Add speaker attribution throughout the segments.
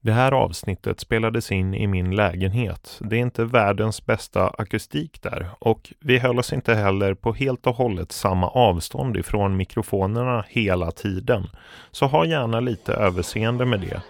Speaker 1: Det här avsnittet spelades in i min lägenhet. Det är inte världens bästa akustik där och vi höll oss inte heller på helt och hållet samma avstånd ifrån mikrofonerna hela tiden. Så ha gärna lite överseende med det.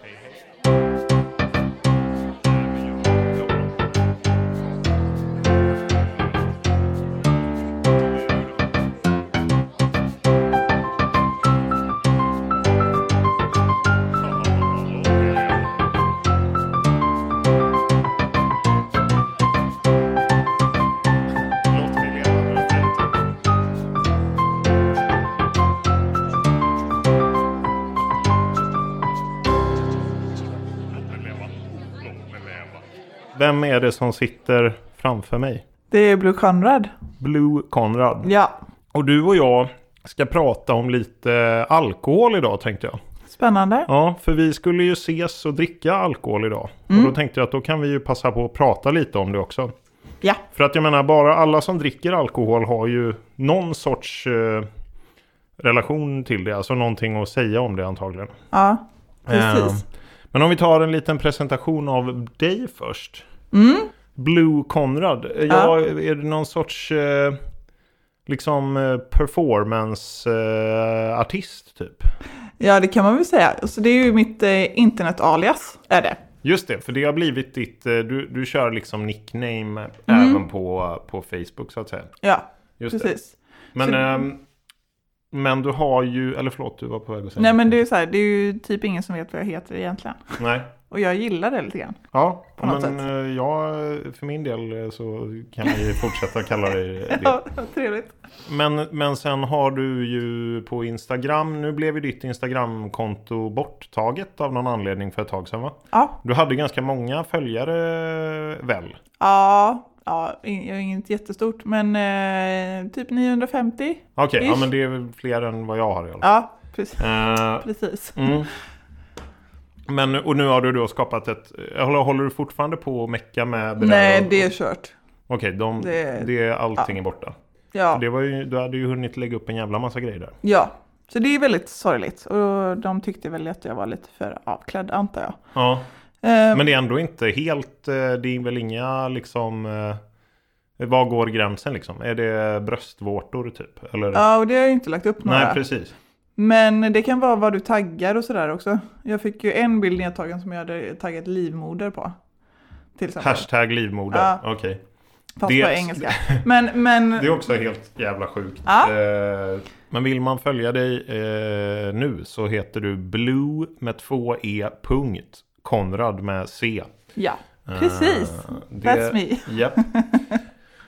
Speaker 1: Vem är det som sitter framför mig?
Speaker 2: Det är Blue Conrad.
Speaker 1: Blue Conrad.
Speaker 2: Ja,
Speaker 1: Och du och jag ska prata om lite alkohol idag tänkte jag.
Speaker 2: spännande.
Speaker 1: Ja, för vi skulle ju ses och dricka alkohol idag. Och
Speaker 2: Mm.
Speaker 1: då tänkte jag att då kan vi ju passa på att prata lite om det också.
Speaker 2: Ja,
Speaker 1: För att jag menar, bara alla som dricker alkohol har ju någon sorts eh, relation till det. Alltså någonting att säga om det antagligen.
Speaker 2: ja precis.
Speaker 1: Eh, men om vi tar en liten presentation av dig först.
Speaker 2: Mm.
Speaker 1: Blue Conrad. Eh, Ja,
Speaker 2: Ja.
Speaker 1: Är det någon sorts eh, liksom eh, performance-artist eh, artist, typ?
Speaker 2: Ja, det kan man väl säga. Så det är ju mitt eh, internetalias, är det.
Speaker 1: Just det, för det har blivit ditt, eh, du, du kör liksom nickname även på, på Facebook så att säga.
Speaker 2: Ja,
Speaker 1: Just det.
Speaker 2: Mm. precis.
Speaker 1: Men,
Speaker 2: Så-
Speaker 1: ehm, men du har ju, eller förlåt du var på väg att säga
Speaker 2: Nej,
Speaker 1: något.
Speaker 2: men det är ju så här, det är ju typ ingen som vet vad jag heter egentligen.
Speaker 1: Nej.
Speaker 2: Och jag gillar det lite grann.
Speaker 1: Ja,
Speaker 2: På något
Speaker 1: men
Speaker 2: sätt.
Speaker 1: eh, jag, för min del eh, så kan vi fortsätta kalla dig det.
Speaker 2: Ja, vad trevligt.
Speaker 1: Men, men sen har du ju på Instagram, nu blev ju ditt Instagramkonto borttaget av någon anledning för ett tag sedan va?
Speaker 2: Ja,
Speaker 1: Du hade ganska många följare väl?
Speaker 2: ja, ja, in- jag är inget jättestort, men eh, typ 950.
Speaker 1: Okej, ja
Speaker 2: Ish.
Speaker 1: men det är väl fler än vad jag har i alla fall.
Speaker 2: Ja, precis.
Speaker 1: Eh,
Speaker 2: precis.
Speaker 1: Mm. Men, och nu har du då skapat ett... Håller, håller du fortfarande på att mecka med det där?
Speaker 2: Nej,
Speaker 1: Och-
Speaker 2: det är kört.
Speaker 1: Okej, de, det,
Speaker 2: det-
Speaker 1: är allting är borta.
Speaker 2: Ja.
Speaker 1: Det var ju, du hade ju hunnit lägga upp en jävla massa grejer där.
Speaker 2: Ja, så det är väldigt sorgligt. Och de tyckte väl att jag var lite för avklädd antar jag.
Speaker 1: Ja.
Speaker 2: Eh,
Speaker 1: Men det är ändå inte helt... eh, Det är väl inga liksom... eh, Var går gränsen liksom? Är det bröstvårtor typ? Eller?
Speaker 2: Ja, och det har jag ju inte lagt upp några.
Speaker 1: Nej, precis.
Speaker 2: Men det kan vara vad du taggar och sådär också. Jag fick ju en bild nedtagen som jag hade taggat livmoder på. Till exempel.
Speaker 1: Hashtag livmoder.
Speaker 2: Ja.
Speaker 1: Okej.
Speaker 2: Fast
Speaker 1: det-
Speaker 2: på engelska. Men, men
Speaker 1: Det är också helt jävla sjukt.
Speaker 2: Ja.
Speaker 1: Eh, Men vill man följa dig eh, nu så heter du blue med två e punkt Konrad med c.
Speaker 2: ja,
Speaker 1: Eh,
Speaker 2: precis.
Speaker 1: det-
Speaker 2: That's me.
Speaker 1: Japp.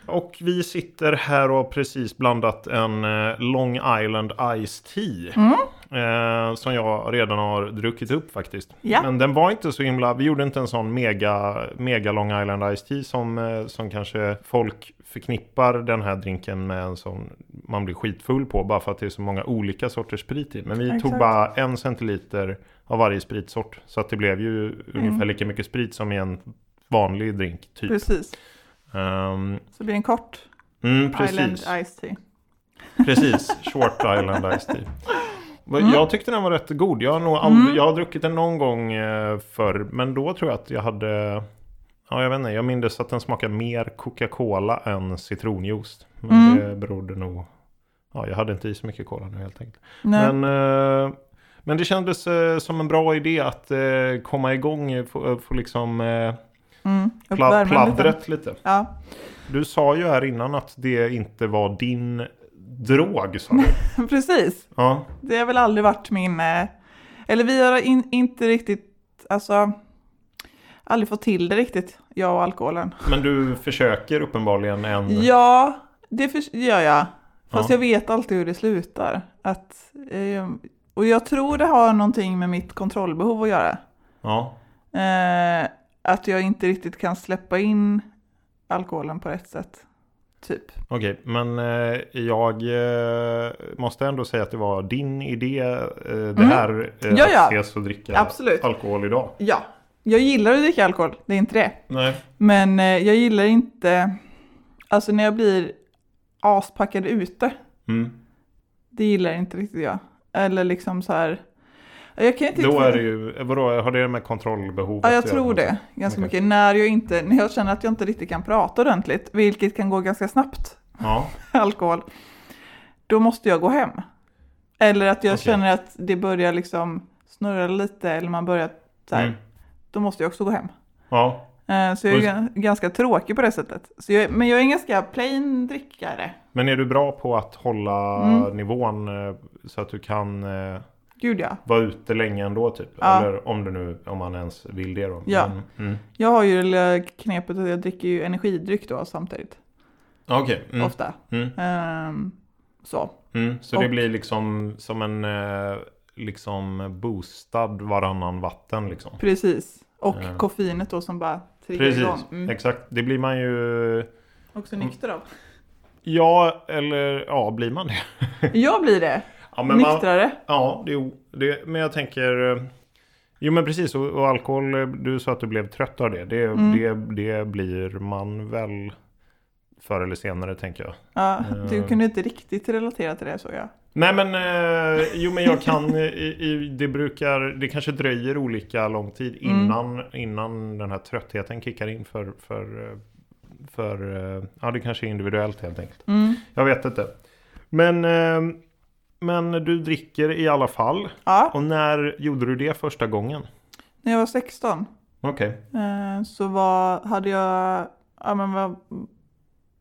Speaker 1: Och vi sitter här och har precis blandat en eh, Long Island Ice Tea.
Speaker 2: Mm.
Speaker 1: Eh, som jag redan har druckit upp faktiskt.
Speaker 2: Ja.
Speaker 1: Men den var inte så himla, vi gjorde inte en sån mega, mega Long Island Ice Tea som, eh, som kanske folk förknippar den här drinken med en sån man blir skitfull på bara för att det är så många olika sorters sprit i. Men vi tog
Speaker 2: Exakt.
Speaker 1: bara en centiliter av varje spritsort. Så att det blev ju ungefär
Speaker 2: Mm.
Speaker 1: lika mycket sprit som i en vanlig drink typ.
Speaker 2: precis.
Speaker 1: Ehm,
Speaker 2: Så det blir en kort
Speaker 1: mm,
Speaker 2: Island
Speaker 1: precis.
Speaker 2: Ice Tea.
Speaker 1: Precis, Short Island Ice Tea. Va-
Speaker 2: Mm.
Speaker 1: Jag tyckte den var rätt god. Jag har, nog aldrig, jag har druckit den någon gång eh, förr, men då tror jag att jag hade... Ja, jag vet inte. Jag minns att den smakade mer Coca-Cola än citronjuice. Men
Speaker 2: Mm.
Speaker 1: det berodde nog... Ja, jag hade inte i så mycket cola nu helt enkelt.
Speaker 2: Nej.
Speaker 1: Men, eh, men det kändes eh, som en bra idé att eh, komma igång, eh, få, eh, få liksom eh,
Speaker 2: mm, upp
Speaker 1: pla-
Speaker 2: värmen lite.
Speaker 1: pladdret lite.
Speaker 2: Ja,
Speaker 1: Du sa ju här innan att det inte var din drog, sa du.
Speaker 2: precis.
Speaker 1: Ja.
Speaker 2: Det har väl aldrig varit min... eh, Eller vi har in, inte riktigt, alltså, aldrig fått till det riktigt, jag och alkoholen.
Speaker 1: Men du försöker uppenbarligen än.
Speaker 2: Ja, det för, gör jag. Fast
Speaker 1: Ja.
Speaker 2: jag vet alltid hur det slutar. Att, eh, och jag tror det har någonting med mitt kontrollbehov att göra.
Speaker 1: Ja.
Speaker 2: Eh, att jag inte riktigt kan släppa in alkoholen på rätt sätt. Typ.
Speaker 1: Okej, men eh, jag eh, måste ändå säga att det var din idé eh, det här eh,
Speaker 2: Mm-hmm. Ja, ja.
Speaker 1: att ses och dricka
Speaker 2: Absolut.
Speaker 1: alkohol idag.
Speaker 2: Ja, jag gillar att dricka alkohol, det är inte det.
Speaker 1: Nej.
Speaker 2: Men eh, jag gillar inte, alltså när jag blir aspackad ute,
Speaker 1: Mm.
Speaker 2: det gillar inte riktigt jag. Eller liksom så här, Jag kan inte
Speaker 1: Då
Speaker 2: riktigt-
Speaker 1: är det ju, vadå, har det med kontrollbehovet
Speaker 2: Ja, jag
Speaker 1: att göra?
Speaker 2: tror det. Ganska
Speaker 1: Okej.
Speaker 2: mycket. När jag, inte, när jag känner att jag inte riktigt kan prata ordentligt, vilket kan gå ganska snabbt,
Speaker 1: Ja,
Speaker 2: alkohol, då måste jag gå hem. Eller att jag
Speaker 1: Okej.
Speaker 2: känner att det börjar liksom snurra lite, eller man börjar så här,
Speaker 1: Mm.
Speaker 2: då måste jag också gå hem.
Speaker 1: ja.
Speaker 2: Eh, Så jag är
Speaker 1: Och-
Speaker 2: gan- ganska tråkig på det sättet. Så jag, men jag är en ganska plain drickare.
Speaker 1: Men är du bra på att hålla
Speaker 2: Mm.
Speaker 1: nivån eh, så att du kan eh,
Speaker 2: Gud ja.
Speaker 1: vara ute länge ändå typ?
Speaker 2: Ja.
Speaker 1: Eller om du nu, om man ens vill det då.
Speaker 2: Ja.
Speaker 1: Men, mm.
Speaker 2: Jag har ju det lilla knepet att jag dricker ju energidryck då samtidigt.
Speaker 1: Okej. Mm.
Speaker 2: Ofta.
Speaker 1: Mm.
Speaker 2: Ehm, så.
Speaker 1: Mm. Så det
Speaker 2: Och-
Speaker 1: blir liksom som en eh, liksom boostad varannan vatten liksom.
Speaker 2: Precis. Och
Speaker 1: Ja.
Speaker 2: koffeinet då som bara triggar igång.
Speaker 1: Precis,
Speaker 2: Mm.
Speaker 1: exakt. Det blir man ju...
Speaker 2: Också nykter av.
Speaker 1: Ja, eller ja, blir man det?
Speaker 2: Jag blir det.
Speaker 1: Ja, man,
Speaker 2: Nyktrare.
Speaker 1: ja det, det, men jag tänker... eh, Jo men precis, och, och alkohol, eh, du sa att du blev trött av det. Det,
Speaker 2: Mm.
Speaker 1: det. det blir man väl förr eller senare tänker jag.
Speaker 2: Ja,
Speaker 1: Ja.
Speaker 2: du kunde inte riktigt relatera till det såg jag.
Speaker 1: Nej men, eh, jo men jag kan, eh, i, i, det brukar, det kanske dröjer olika lång tid
Speaker 2: Mm.
Speaker 1: innan, innan den här tröttheten kickar in för, för, eh, för, eh, ja det kanske är individuellt helt enkelt.
Speaker 2: Mm.
Speaker 1: Jag vet inte. Men, eh, men du dricker i alla fall.
Speaker 2: Ja,
Speaker 1: Och när gjorde du det första gången?
Speaker 2: när jag var 16
Speaker 1: Okej.
Speaker 2: eh, så var, hade jag, ja men var,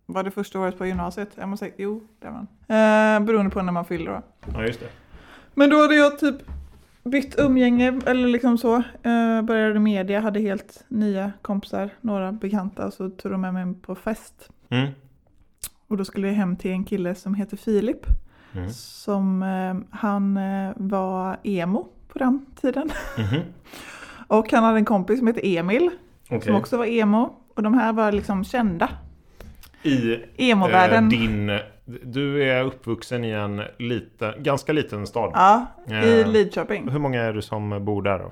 Speaker 2: var det första året på gymnasiet? Är man säker? Jo, det är man. Eh, beroende på när man fyller då.
Speaker 1: Ja just det.
Speaker 2: Men då hade jag typ bytt umgänge eller liksom så. Eh, började i media, hade helt nya kompisar, några bekanta och så tog de med mig på fest.
Speaker 1: Mm.
Speaker 2: Och då skulle jag hem till en kille som heter Filip.
Speaker 1: Mm.
Speaker 2: Som eh, han eh, var emo på den tiden.
Speaker 1: Mhm.
Speaker 2: Och han hade en kompis som hette Emil
Speaker 1: Okej.
Speaker 2: som också var emo. Och de här var liksom kända.
Speaker 1: I eh,
Speaker 2: Emo-världen.
Speaker 1: din... Du är uppvuxen i en liten, ganska liten stad.
Speaker 2: ja, i
Speaker 1: Eh,
Speaker 2: Lidköping.
Speaker 1: Hur många är det som bor där då?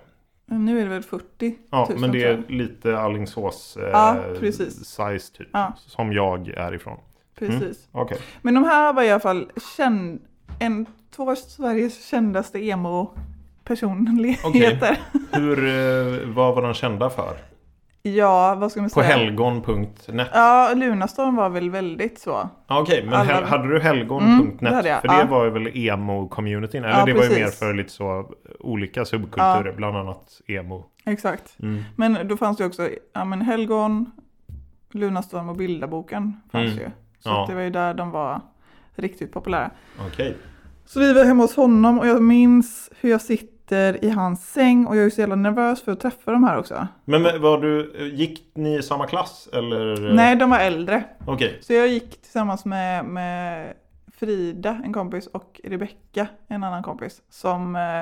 Speaker 2: Nu är det väl 40
Speaker 1: Ja,
Speaker 2: 000
Speaker 1: men det är
Speaker 2: tror
Speaker 1: lite Alingsås eh,
Speaker 2: Ja, precis.
Speaker 1: size typ.
Speaker 2: Ja.
Speaker 1: Som jag är ifrån.
Speaker 2: jag. Precis.
Speaker 1: Okej.
Speaker 2: Men de här var i alla fall känd, en, två av Sveriges kändaste emo-personligheter.
Speaker 1: Hur, eh, vad var de kända för?
Speaker 2: Ja, vad ska man
Speaker 1: På
Speaker 2: säga?
Speaker 1: helgon.net?
Speaker 2: Ja, Lunarstorm var väl väldigt så.
Speaker 1: Ja, Okej, men
Speaker 2: Alla-
Speaker 1: hel- hade du helgon.net?
Speaker 2: Mm, det hade jag,
Speaker 1: för det
Speaker 2: ja.
Speaker 1: var ju väl emo-communityn? Eller
Speaker 2: Ja,
Speaker 1: det var ju
Speaker 2: precis.
Speaker 1: mer för lite så eh, olika subkulturer, bland annat emo.
Speaker 2: Exakt.
Speaker 1: Mm.
Speaker 2: Men då fanns det också ja, men Helgon, Lunarstorm och Bilderboken fanns
Speaker 1: Mm.
Speaker 2: ju. Så
Speaker 1: Ja.
Speaker 2: att det var ju där de var riktigt populära.
Speaker 1: Okej.
Speaker 2: Så vi var hemma hos honom och jag minns hur jag sitter i hans säng och jag är så jävla nervös för att träffa de här också.
Speaker 1: Men men var du, eh, gick ni i samma klass eller?
Speaker 2: Nej, de var äldre.
Speaker 1: Okej.
Speaker 2: Så jag gick tillsammans med, med Frida, en kompis, och Rebecka, en annan kompis, som eh,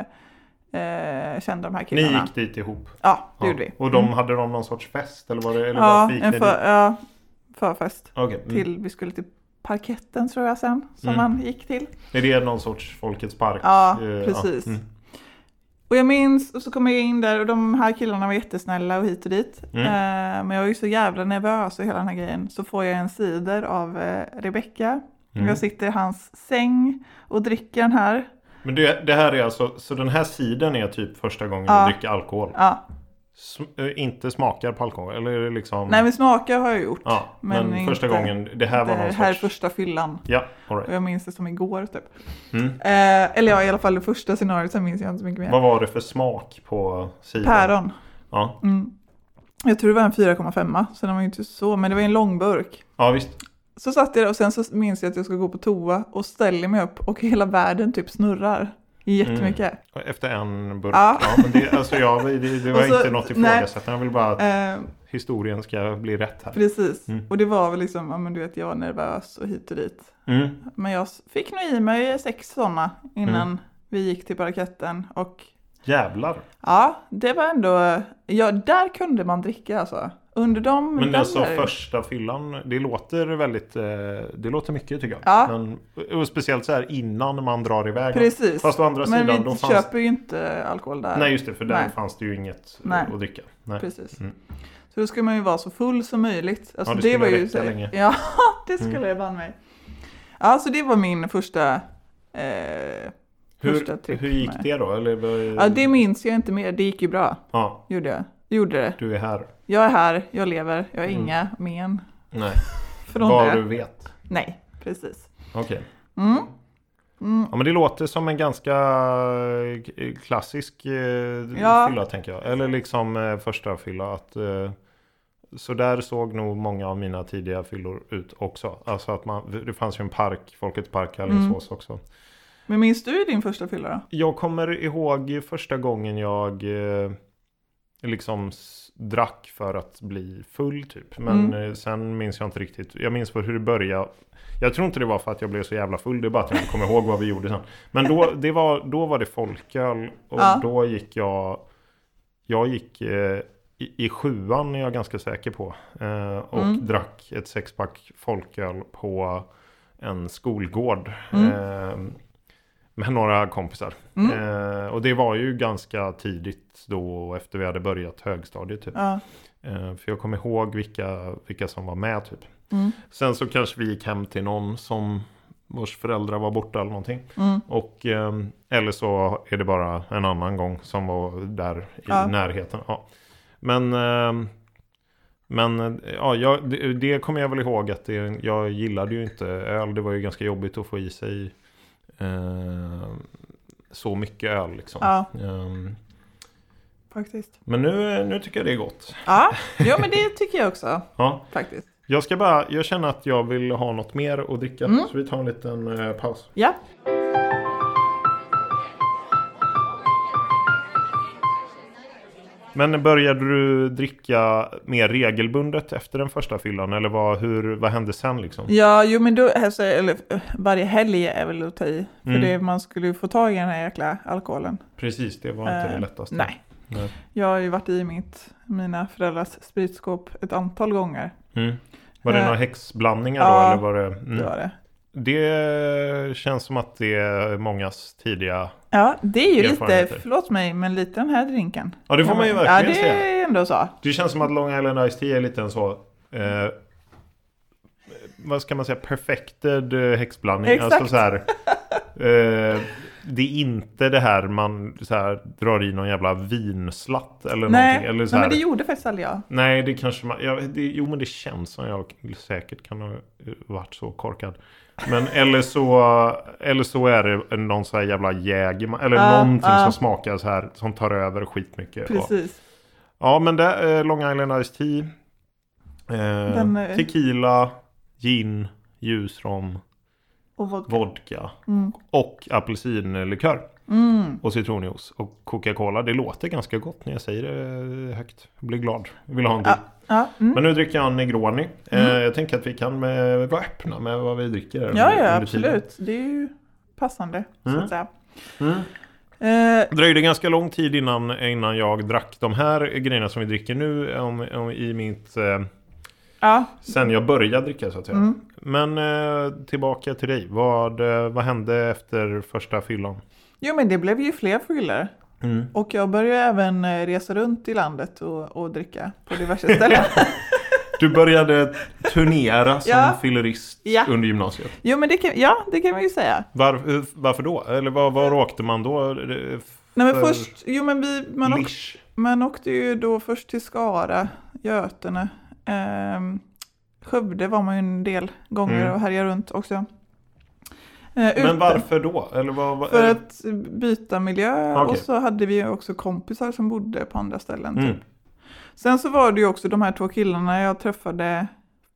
Speaker 2: eh, kände de här
Speaker 1: Ni
Speaker 2: killarna.
Speaker 1: gick dit ihop?
Speaker 2: Ja, det
Speaker 1: Ja.
Speaker 2: gjorde vi. Mm.
Speaker 1: Och de, hade de någon sorts fest eller var det? Eller
Speaker 2: ja,
Speaker 1: varför gick
Speaker 2: en
Speaker 1: ni dit?
Speaker 2: för, ja, förfest.
Speaker 1: Okej. mm.
Speaker 2: Till, vi skulle till parketten tror jag sen, som
Speaker 1: Mm.
Speaker 2: man gick till.
Speaker 1: Är det någon sorts Folkets park?
Speaker 2: Ja,
Speaker 1: Eh, ja.
Speaker 2: precis.
Speaker 1: Mm.
Speaker 2: Och jag minns, och så kom jag in där och de här killarna var jättesnälla och hit och dit.
Speaker 1: Mm.
Speaker 2: Eh, men jag var ju så jävla nervös och hela den här grejen. Så får jag en cider av eh, Rebecka.
Speaker 1: Mm.
Speaker 2: Jag sitter i hans säng och dricker den här.
Speaker 1: Men det, det här är alltså, så den här sidan är typ första gången
Speaker 2: Ja.
Speaker 1: du dricker alkohol?
Speaker 2: Ja.
Speaker 1: Sm- eh, inte smakar på alkohol? Eller är det liksom?
Speaker 2: Nej men smakar har jag gjort.
Speaker 1: Ja, men,
Speaker 2: men
Speaker 1: första
Speaker 2: inte-
Speaker 1: gången, det här
Speaker 2: det
Speaker 1: var någon
Speaker 2: här är
Speaker 1: sorts...
Speaker 2: första fyllan.
Speaker 1: Ja, all
Speaker 2: Och
Speaker 1: right.
Speaker 2: jag minns det som igår typ.
Speaker 1: mm.
Speaker 2: Eh, eller ja, i alla fall det första scenariot, sen minns jag inte så mycket mer.
Speaker 1: Vad var det för smak på sidan?
Speaker 2: Päron.
Speaker 1: Ja,
Speaker 2: Mm. Jag tror det var en 4,5 så den var ju inte så, men det var ju en lång burk.
Speaker 1: ja visst.
Speaker 2: Så satt jag där och sen så minns jag att jag ska gå på toa och ställer mig upp och hela världen typ snurrar jättemycket.
Speaker 1: Efter en burk. Ja.
Speaker 2: Ja.
Speaker 1: men det, alltså jag, det, det var
Speaker 2: Och så-
Speaker 1: inte något ifrågasättande. Jag vill bara att
Speaker 2: Eh,
Speaker 1: historien ska bli rätt här.
Speaker 2: precis,
Speaker 1: Mm.
Speaker 2: och det var väl liksom, ja men du vet jag var nervös och hit och dit.
Speaker 1: Mm.
Speaker 2: Men jag fick nog i mig sex sådana innan vi gick till parketten. Och
Speaker 1: Jävlar.
Speaker 2: ja, det var ändå... Ja, där kunde man dricka alltså. Under dem...
Speaker 1: Men
Speaker 2: den
Speaker 1: alltså
Speaker 2: där-
Speaker 1: första fyllan, det låter väldigt, eh, det låter mycket tycker jag.
Speaker 2: Ja.
Speaker 1: Men, och speciellt så här innan man drar iväg.
Speaker 2: Precis.
Speaker 1: Fast å andra
Speaker 2: Men
Speaker 1: sidan,
Speaker 2: vi
Speaker 1: då fanns...
Speaker 2: köper ju inte alkohol där.
Speaker 1: Nej just det, för där
Speaker 2: Nej.
Speaker 1: fanns det ju inget eh,
Speaker 2: Nej.
Speaker 1: att dricka. Nej.
Speaker 2: Precis.
Speaker 1: Mm.
Speaker 2: Så då skulle man ju vara så full som möjligt. Alltså,
Speaker 1: Ja, det
Speaker 2: det,
Speaker 1: skulle
Speaker 2: var ju
Speaker 1: räcka
Speaker 2: så-
Speaker 1: länge. Mm.
Speaker 2: Ja, det skulle det banne mig. Ja, så det var min första... Eh, Första
Speaker 1: Hur,
Speaker 2: tripp
Speaker 1: hur gick
Speaker 2: med.
Speaker 1: det då? Eller,
Speaker 2: Ja, det minns jag inte mer. Det gick ju bra.
Speaker 1: Ja,
Speaker 2: Gjorde jag. Gjorde det.
Speaker 1: du är här.
Speaker 2: Jag är här, jag lever, jag har inga men
Speaker 1: Nej,
Speaker 2: från
Speaker 1: vad
Speaker 2: det.
Speaker 1: Mm. du vet.
Speaker 2: Nej, precis.
Speaker 1: Okej.
Speaker 2: Mm.
Speaker 1: Ja, men det låter som en ganska eh, klassisk eh,
Speaker 2: Ja.
Speaker 1: fylla tänker jag. Eller liksom eh, första fylla. Att, eh, så där såg nog många av mina tidiga fyllor ut också. Alltså att man, det fanns ju en park, Folkets park i
Speaker 2: Mm.
Speaker 1: Alingsås också.
Speaker 2: Men minns du din första fylla då?
Speaker 1: Jag kommer ihåg första gången jag eh, liksom s- drack för att bli full typ. Men eh, sen minns jag inte riktigt. Jag minns på hur det började. Jag tror inte det var för att jag blev så jävla full. Det är bara att jag inte kommer ihåg vad vi gjorde sen. Men då, det var, då var det folköl. Och
Speaker 2: Ja.
Speaker 1: då gick jag... Jag gick eh, i, i sjuan är jag ganska säker på. Eh, och drack ett sexpack folköl på en skolgård. Eh, med några kompisar.
Speaker 2: Mm.
Speaker 1: Eh, och det var ju ganska tidigt då efter vi hade börjat högstadiet. Typ.
Speaker 2: Ja.
Speaker 1: Eh, för jag kommer ihåg vilka, vilka som var med. Typ.
Speaker 2: Mm.
Speaker 1: Sen så kanske vi gick hem till någon som vars föräldrar var borta eller någonting.
Speaker 2: Mm.
Speaker 1: Och, ehm, eller så är det bara en annan gång som var där i
Speaker 2: Ja.
Speaker 1: närheten. Ja. Men, ehm, men eh, ja, jag, det, det kommer jag väl ihåg att det, jag gillade ju inte öl. Det var ju ganska jobbigt att få i sig eh, så mycket öl. Liksom.
Speaker 2: Ja.
Speaker 1: Ehm,
Speaker 2: Faktiskt.
Speaker 1: men nu, nu tycker jag det är gott.
Speaker 2: Ja, jo men det tycker jag också
Speaker 1: Ja.
Speaker 2: faktiskt.
Speaker 1: Jag, ska bara, jag känner att jag vill ha något mer att dricka.
Speaker 2: Mm.
Speaker 1: Så vi tar en liten eh, paus.
Speaker 2: Ja.
Speaker 1: Men började du dricka mer regelbundet efter den första fyllan? Eller vad, hur, vad hände sen liksom?
Speaker 2: Ja, jo men då, alltså, eller, eh, varje helg är väl att ta i. För
Speaker 1: Mm.
Speaker 2: det, man skulle ju få tag i den här jäkla alkoholen.
Speaker 1: Precis, det var inte
Speaker 2: Eh,
Speaker 1: det lättaste.
Speaker 2: Nej.
Speaker 1: Nej.
Speaker 2: Jag har ju varit i mitt, mina föräldrars spritskåp ett antal gånger.
Speaker 1: Mm. Var det
Speaker 2: Eh,
Speaker 1: några häxblandningar då?
Speaker 2: ja,
Speaker 1: eller var det,
Speaker 2: Det
Speaker 1: mm.
Speaker 2: var det.
Speaker 1: det känns som att det är mångas tidiga...
Speaker 2: Ja, det är ju lite,
Speaker 1: Erfarenheter.
Speaker 2: förlåt mig, men lite den här drinken.
Speaker 1: Ja, det får man ju verkligen
Speaker 2: Ja, det
Speaker 1: säga.
Speaker 2: är ändå så.
Speaker 1: Det känns som att Long Island Ice Tea är lite en så... Eh, vad ska man säga? Perfected eh, häxblandning.
Speaker 2: Exakt.
Speaker 1: Alltså så här, eh, det är inte det här man så här, drar i någon jävla vinslatt eller
Speaker 2: Nej,
Speaker 1: någonting. Eller så
Speaker 2: nej,
Speaker 1: här,
Speaker 2: men det gjorde faktiskt aldrig jag.
Speaker 1: Nej, det kanske man... Ja, det, jo, men det känns som jag säkert kan ha eh, varit så korkad. Men eller så, eller så är det någon så här jävla jäger, eller
Speaker 2: Ja,
Speaker 1: någonting
Speaker 2: ja.
Speaker 1: som smakar så här, som tar över skitmycket. Ja.
Speaker 2: Precis.
Speaker 1: Ja, men det eh, Long Island Ice Tea. Eh,
Speaker 2: Den, eh,
Speaker 1: tequila, gin, ljusrom,
Speaker 2: Och vodka. Mm.
Speaker 1: vodka och apelsinlikör. Och citronjuice och Coca-Cola. Det låter ganska gott när jag säger det eh, högt. Jag blir glad. Jag vill ha en till.
Speaker 2: Ja, ja, mm.
Speaker 1: Men eh, nu dricker jag en Negroni. Eh, jag tänker att vi kan eh, vara öppna med vad vi dricker. här
Speaker 2: ja,
Speaker 1: under-
Speaker 2: ja
Speaker 1: under tiden.
Speaker 2: absolut. Det är ju passande, så
Speaker 1: Mm.
Speaker 2: att säga.
Speaker 1: Mm.
Speaker 2: Eh,
Speaker 1: Det dröjde ganska lång tid innan, innan jag drack de här grejerna som vi dricker nu om, om, i mitt eh,
Speaker 2: ja, mm.
Speaker 1: Sen jag började dricka så att säga. Men eh, tillbaka till dig. Vad, eh, vad hände efter första fyllan?
Speaker 2: jo men det blev ju fler fyllor.
Speaker 1: Mm.
Speaker 2: Och jag började även eh, resa runt i landet och, och dricka på diverse ställen.
Speaker 1: Du började turnera som
Speaker 2: Ja.
Speaker 1: fyllerist
Speaker 2: Ja.
Speaker 1: under gymnasiet.
Speaker 2: jo men det kan, ja, det kan man ju säga.
Speaker 1: Var, eh, varför då? Eller var,
Speaker 2: Mm.
Speaker 1: var åkte man då? Eh, f-
Speaker 2: Nej men
Speaker 1: För-
Speaker 2: först, jo men vi, man, åk,
Speaker 1: Lisch.
Speaker 2: man åkte ju då först till Skara, Götene. Ehm, Skövde var man ju en del gånger
Speaker 1: Mm.
Speaker 2: och härjade runt också. Eh, ute.
Speaker 1: Men varför då? Eller vad, vad,
Speaker 2: För
Speaker 1: eh,
Speaker 2: att byta miljö
Speaker 1: Okej.
Speaker 2: och så hade vi ju också kompisar som bodde på andra ställen. Typ.
Speaker 1: mm.
Speaker 2: Sen så var det ju också de här två killarna jag träffade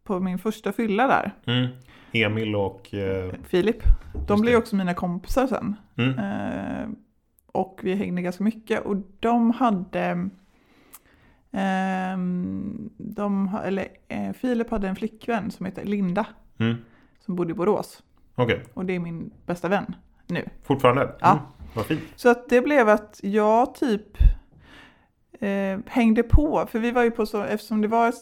Speaker 2: på min första fylla där,
Speaker 1: Mm. Emil och... Eh,
Speaker 2: Filip.
Speaker 1: Just
Speaker 2: De blev
Speaker 1: det.
Speaker 2: ju också mina kompisar sen.
Speaker 1: mm.
Speaker 2: Eh, och vi hängde ganska mycket och de hade ehm, de, ha- eller, eh, Filip hade en flickvän som heter Linda
Speaker 1: Mm.
Speaker 2: som bodde i Borås
Speaker 1: Okej,
Speaker 2: och det är min bästa vän nu.
Speaker 1: fortfarande?
Speaker 2: Ja.
Speaker 1: Mm. Vad fint.
Speaker 2: Så att det blev att jag typ eh, hängde på, för vi var ju på så, eftersom det var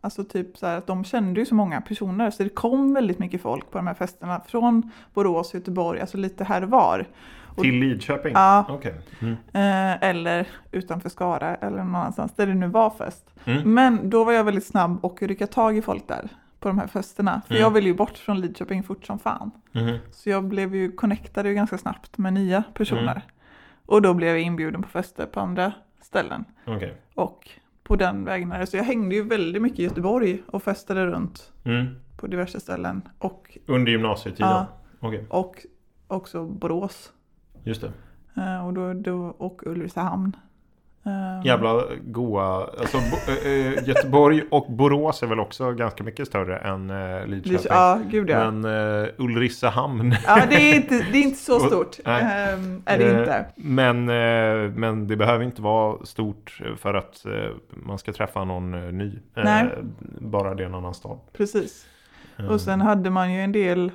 Speaker 2: alltså typ så här att de kände ju så många personer så det kom väldigt mycket folk på de här festerna från Borås, Göteborg, alltså lite här och var. Och-
Speaker 1: Till Lidköping?
Speaker 2: Ja,
Speaker 1: Okej. Mm.
Speaker 2: eh, eller utanför Skara eller någon annanstans där det nu var fest.
Speaker 1: Mm.
Speaker 2: Men då var jag väldigt snabb och rycka tag i folk där. på de här festerna. För
Speaker 1: Mm.
Speaker 2: jag ville ju bort från Lidköping fort som fan.
Speaker 1: Mhm.
Speaker 2: Så jag blev ju connectade ju ganska snabbt med nya personer.
Speaker 1: Mm.
Speaker 2: Och då blev jag inbjuden på fester på andra ställen.
Speaker 1: Okej.
Speaker 2: Och på den vägen är det. Så jag hängde ju väldigt mycket i Göteborg och festade runt
Speaker 1: Mm.
Speaker 2: på diverse ställen. Och,
Speaker 1: Under gymnasietiden?
Speaker 2: Ja.
Speaker 1: Okej,
Speaker 2: och också Borås
Speaker 1: just det.
Speaker 2: eh, och, då, då, och Ulricehamn. Eh,
Speaker 1: Jävla goa. Alltså, bo, eh, eh, Göteborg och Borås är väl också ganska mycket större än eh, Lidköping.
Speaker 2: Lidkö- Ja, gud ja.
Speaker 1: Men eh, Ulricehamn.
Speaker 2: Ja, det är inte, det är inte så
Speaker 1: Och-
Speaker 2: stort.
Speaker 1: nej.
Speaker 2: ehm, är det
Speaker 1: Eh,
Speaker 2: inte.
Speaker 1: Men, eh, men det behöver inte vara stort för att eh, man ska träffa någon eh, ny. Eh,
Speaker 2: Nej.
Speaker 1: Bara det är en annan stad.
Speaker 2: Precis.
Speaker 1: Eh,
Speaker 2: Och sen hade man ju en del...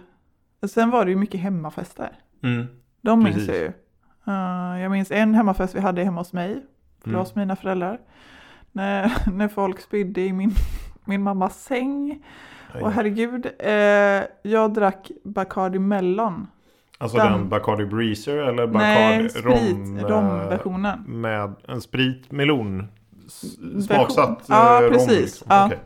Speaker 2: Sen var det ju mycket hemmafester.
Speaker 1: Mm.
Speaker 2: De minns
Speaker 1: Precis.
Speaker 2: jag ju. Eh, jag minns en hemmafest vi hade hemma hos mig. För det var
Speaker 1: Mm.
Speaker 2: hos mina föräldrar. När, när folk spydde i min, min mammas säng.
Speaker 1: Mm.
Speaker 2: Och herregud, eh, jag drack Bacardi Mellon.
Speaker 1: alltså den
Speaker 2: den-
Speaker 1: Bacardi Breezer eller Bacardi
Speaker 2: Nej,
Speaker 1: rom,
Speaker 2: sprit,
Speaker 1: eh,
Speaker 2: romversionen.
Speaker 1: Med en sprit melon s-
Speaker 2: Version.
Speaker 1: smaksatt eh,
Speaker 2: Ja,
Speaker 1: rom.
Speaker 2: precis.
Speaker 1: Liksom.
Speaker 2: Ja.
Speaker 1: Okej.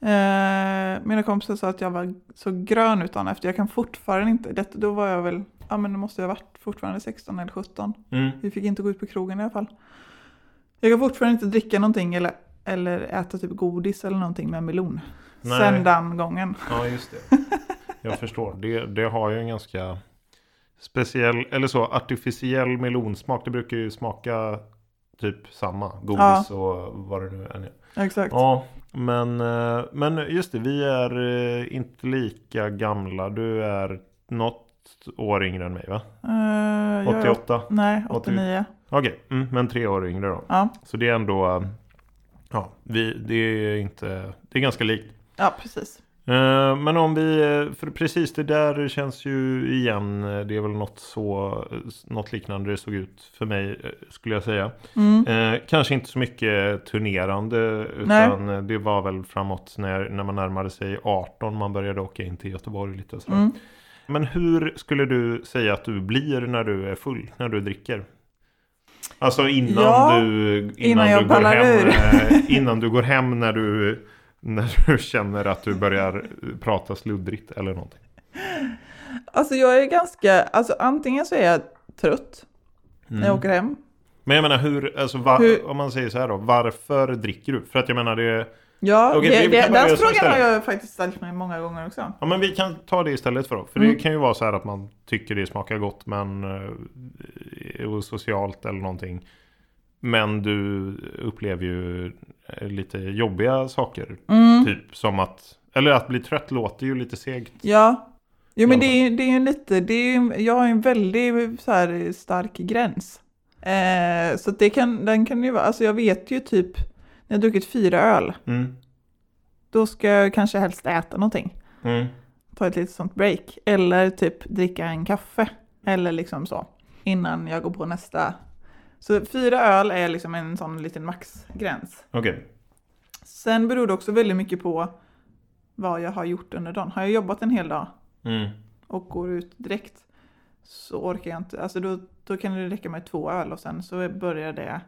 Speaker 2: Eh, mina kompisar sa att jag var så grön utan efter. Jag kan fortfarande inte. Det, då var jag väl, ja men då måste jag ha varit fortfarande 16 eller 17.
Speaker 1: Mm.
Speaker 2: Vi fick inte gå ut på krogen i alla fall. Jag kan fortfarande inte dricka någonting eller, eller äta typ godis eller någonting med melon.
Speaker 1: Nej.
Speaker 2: Sen den gången.
Speaker 1: Ja, just det. Jag förstår. Det, det har ju en ganska speciell, eller så, artificiell melonsmak. Det brukar ju smaka typ samma. Godis och vad det nu är.
Speaker 2: Exakt.
Speaker 1: Ja, men, eh, men just det. Vi är eh, inte lika gamla. Du är något år yngre än mig, va?
Speaker 2: Eh, jag är åt-
Speaker 1: 88?
Speaker 2: nej,
Speaker 1: 80.
Speaker 2: 89.
Speaker 1: Okej, mm, men tre år yngre då.
Speaker 2: Ja,
Speaker 1: Så det är ändå, eh, ja, vi, det är inte, det är ganska likt.
Speaker 2: ja precis.
Speaker 1: Eh, Men om vi, eh, för precis det där känns ju igen, eh, det är väl något, så, eh, s- något liknande det såg ut för mig eh, skulle jag säga.
Speaker 2: Mm.
Speaker 1: Eh, kanske inte så mycket turnerande utan eh, det var väl framåt när, när man närmade sig 18 man började åka in till Göteborg lite och sådär.
Speaker 2: Mm.
Speaker 1: Men hur skulle du säga att du blir när du är full, när du dricker? Alltså innan
Speaker 2: Ja,
Speaker 1: du, innan
Speaker 2: innan
Speaker 1: du
Speaker 2: jag
Speaker 1: går
Speaker 2: ballar
Speaker 1: hem,
Speaker 2: ur.
Speaker 1: eh, innan du går hem när du, när du känner att du börjar prata sluddrigt eller någonting.
Speaker 2: Alltså jag är ganska, alltså antingen så är jag trött när jag
Speaker 1: Mm.
Speaker 2: åker hem.
Speaker 1: Men jag menar hur, alltså va,
Speaker 2: Hur-
Speaker 1: om man säger så här då, varför dricker du? För att jag menar det,
Speaker 2: Ja,
Speaker 1: Okej, vi-
Speaker 2: det,
Speaker 1: vi
Speaker 2: det,
Speaker 1: kan börja så
Speaker 2: den frågan
Speaker 1: istället.
Speaker 2: har jag faktiskt ställt mig många gånger också.
Speaker 1: ja men vi kan ta det istället för då. För det
Speaker 2: Mm.
Speaker 1: kan ju vara så här att man tycker det smakar gott men, eh, och socialt eller någonting. Men du upplever ju eh, lite jobbiga saker
Speaker 2: Mm.
Speaker 1: Typ som att, eller att bli trött låter ju lite segt.
Speaker 2: Ja. Jo men
Speaker 1: I
Speaker 2: det
Speaker 1: alla
Speaker 2: är ju det är ju lite, det är ju, jag har ju en väldigt så här, stark gräns. Eh, så att det kan, den kan ju vara, alltså jag vet ju typ när jag druckit fyra öl,
Speaker 1: Mm.
Speaker 2: då ska jag kanske helst äta någonting.
Speaker 1: Mm.
Speaker 2: Ta ett litet sånt break. Eller typ dricka en kaffe. Eller liksom så. Innan jag går på nästa. Så fyra öl är liksom en sån liten maxgräns.
Speaker 1: Okej.
Speaker 2: Sen beror det också väldigt mycket på vad jag har gjort under dagen. Har jag jobbat en hel dag
Speaker 1: Mm.
Speaker 2: och går ut direkt så orkar jag inte. Alltså då, då kan det räcka med två öl och sen så börjar det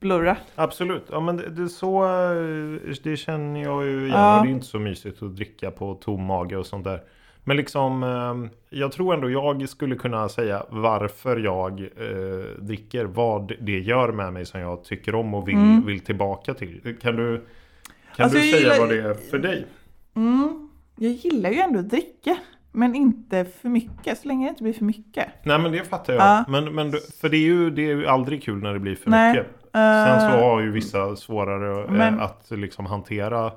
Speaker 2: blurra.
Speaker 1: Absolut, ja men det, det är så, eh, det känner jag ju igen.
Speaker 2: Ja.
Speaker 1: Och Det är inte så mysigt att dricka på tom mage och sånt där. Men liksom, eh, jag tror ändå jag skulle kunna säga varför jag eh, dricker, vad det gör med mig som jag tycker om och vill,
Speaker 2: Mm.
Speaker 1: vill tillbaka till. Kan du, kan
Speaker 2: Alltså,
Speaker 1: du
Speaker 2: jag
Speaker 1: säga
Speaker 2: gillar-
Speaker 1: vad det är för dig?
Speaker 2: Mm. Jag gillar ju ändå att dricka, men inte för mycket. Så länge det inte blir för mycket.
Speaker 1: Nej men det fattar jag.
Speaker 2: Ja.
Speaker 1: Men, men, du- för det är, ju, det är ju aldrig kul när det blir för
Speaker 2: Nej.
Speaker 1: mycket.
Speaker 2: Eh,
Speaker 1: Sen så har ju vissa svårare eh,
Speaker 2: Men-
Speaker 1: att liksom hantera.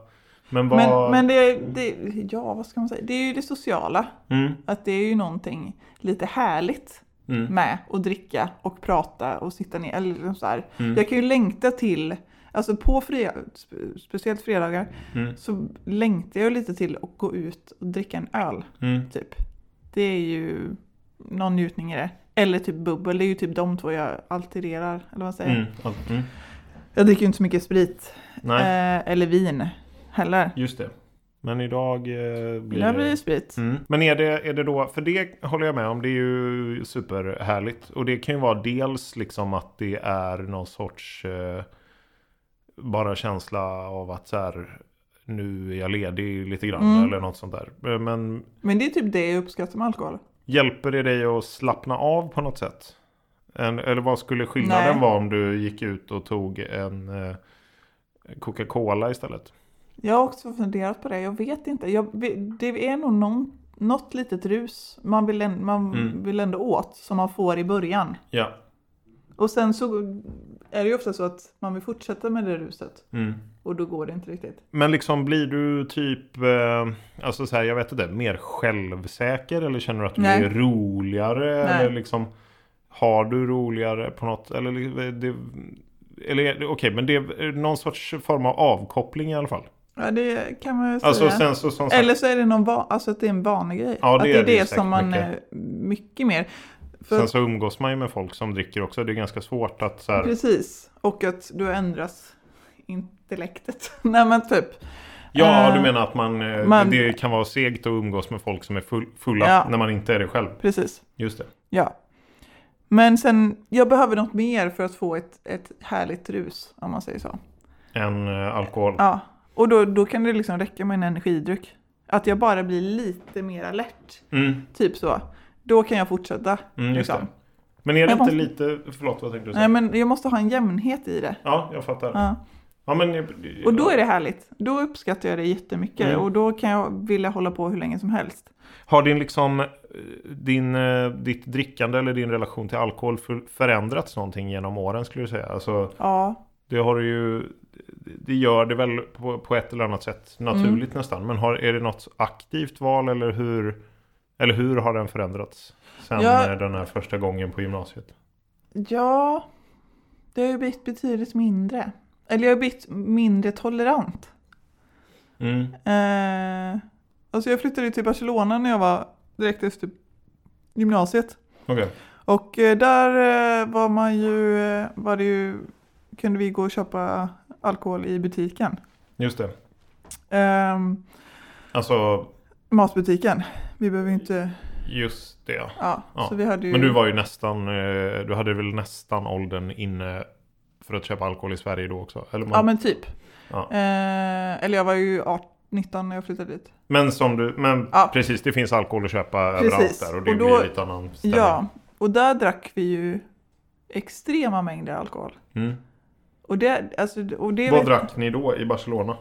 Speaker 1: Men
Speaker 2: men
Speaker 1: vad...
Speaker 2: men det, det, ja, vad ska man säga? det är ju det sociala.
Speaker 1: Mm,
Speaker 2: Att det är ju någonting lite härligt
Speaker 1: mm,
Speaker 2: med att dricka och prata och sitta ner. Eller liksom så här.
Speaker 1: Mm.
Speaker 2: Jag kan ju längta till, alltså på fredag, speciellt fredagar,
Speaker 1: mm,
Speaker 2: så längtar jag lite till att gå ut och dricka en öl,
Speaker 1: mm,
Speaker 2: typ. Det är ju någon njutning i det. Eller typ bubbel, det är ju typ de två jag altererar, eller vad man säger.
Speaker 1: mm, allt- mm.
Speaker 2: Jag dricker ju inte så mycket sprit,
Speaker 1: Nej,
Speaker 2: eh, eller vin heller.
Speaker 1: just det. Men idag eh, blir
Speaker 2: Där blir det sprit.
Speaker 1: Mm. Men är det, är det då, för det håller jag med om, det är ju superhärligt. Och det kan ju vara dels liksom att det är någon sorts eh, bara känsla av att så här, nu är jag ledig lite grann
Speaker 2: Mm.
Speaker 1: eller något sånt där. Eh, Men
Speaker 2: Men det är typ det jag uppskattar med alkohol.
Speaker 1: hjälper det dig att slappna av på något sätt? En, eller vad skulle skillnaden
Speaker 2: Nej.
Speaker 1: vara om du gick ut och tog en eh, Coca-Cola istället?
Speaker 2: Jag har också funderat på det, jag vet inte. Jag, det är nog någon, något litet rus man, vill, än- man
Speaker 1: Mm.
Speaker 2: vill ändå åt som man får i början.
Speaker 1: Ja.
Speaker 2: Och sen så är det ju ofta så att man vill fortsätta med det ruset
Speaker 1: Mm.
Speaker 2: och då går det inte riktigt.
Speaker 1: Men liksom blir du typ, eh, alltså så här, jag vet inte, mer självsäker eller känner du att du
Speaker 2: Nej.
Speaker 1: är roligare?
Speaker 2: Nej.
Speaker 1: Eller liksom, har du roligare på något? Eller, li- eh, det- eller är det- okej, men det är någon sorts form av avkoppling i alla fall.
Speaker 2: Ja, det kan man ju säga.
Speaker 1: Alltså sen så som sagt,
Speaker 2: Eller så är det någon va- alltså att det är en vanegrej.
Speaker 1: Ja, det
Speaker 2: att det
Speaker 1: är
Speaker 2: är
Speaker 1: det ju
Speaker 2: det
Speaker 1: säkert
Speaker 2: som man
Speaker 1: mycket.
Speaker 2: mycket, mycket mer. För
Speaker 1: sen så umgås man ju med folk som dricker också. Det är ganska svårt att så här,
Speaker 2: Precis, och att då ändras intellektet. Nej men typ.
Speaker 1: ja
Speaker 2: eh,
Speaker 1: du menar att man, eh,
Speaker 2: man-
Speaker 1: det kan vara segt att umgås med folk som är full, fulla
Speaker 2: Ja.
Speaker 1: när man inte är det själv.
Speaker 2: Precis,
Speaker 1: Just det.
Speaker 2: ja. Men sen, jag behöver något mer för att få ett, ett härligt rus, om man säger så.
Speaker 1: En eh, alkohol.
Speaker 2: Ja, och då, då kan det liksom räcka med en energidryck. Att jag bara blir lite mer alert,
Speaker 1: Mm.
Speaker 2: typ så. Då kan jag fortsätta.
Speaker 1: Mm, just
Speaker 2: liksom.
Speaker 1: det. Men är det
Speaker 2: Jag
Speaker 1: inte lite, förlåt vad tänkte du
Speaker 2: Nej
Speaker 1: säga?
Speaker 2: men jag måste ha en jämnhet i det.
Speaker 1: Ja, jag fattar.
Speaker 2: Ja.
Speaker 1: Ja, men, eh,
Speaker 2: Och då är det härligt. Då uppskattar jag det jättemycket
Speaker 1: Mm.
Speaker 2: och då kan jag vilja hålla på hur länge som helst.
Speaker 1: Har din, liksom, eh, din, eh, ditt drickande eller din relation till alkohol för- förändrats någonting genom åren skulle du säga? Alltså,
Speaker 2: Ja,
Speaker 1: det har ju, det gör det väl på, på ett eller annat sätt naturligt
Speaker 2: Mm.
Speaker 1: nästan. Men har, är det något aktivt val eller hur, eller hur har den förändrats? Sen
Speaker 2: Jag-
Speaker 1: eh, den här första gången på gymnasiet.
Speaker 2: ja det har ju blivit betydligt mindre. Eller jag har blivit mindre tolerant.
Speaker 1: Mm.
Speaker 2: Eh, alltså jag flyttade ju till Barcelona när jag var direkt efter gymnasiet.
Speaker 1: Okej.
Speaker 2: Och eh, där eh, var man ju, eh, var det ju, kunde vi gå och köpa alkohol i butiken.
Speaker 1: Just det.
Speaker 2: Ehm,
Speaker 1: Alltså,
Speaker 2: matbutiken. Vi behöver ju inte,
Speaker 1: just det.
Speaker 2: ja,
Speaker 1: Ja,
Speaker 2: Så vi hade ju...
Speaker 1: Men du var ju nästan, eh, du hade väl nästan åldern inne för att köpa alkohol i Sverige då också? Eller man,
Speaker 2: Ja
Speaker 1: men...
Speaker 2: men typ.
Speaker 1: Ja.
Speaker 2: Eh, eller jag var ju 18, 19 när jag flyttade dit.
Speaker 1: som du, men
Speaker 2: Ja.
Speaker 1: precis det finns alkohol att köpa
Speaker 2: Precis.
Speaker 1: överallt där och det
Speaker 2: Och då-
Speaker 1: blir lite annan stämning.
Speaker 2: Ja, och där drack vi ju extrema mängder alkohol.
Speaker 1: Mm.
Speaker 2: Och det, alltså, och det
Speaker 1: Vad drack ni då i Barcelona?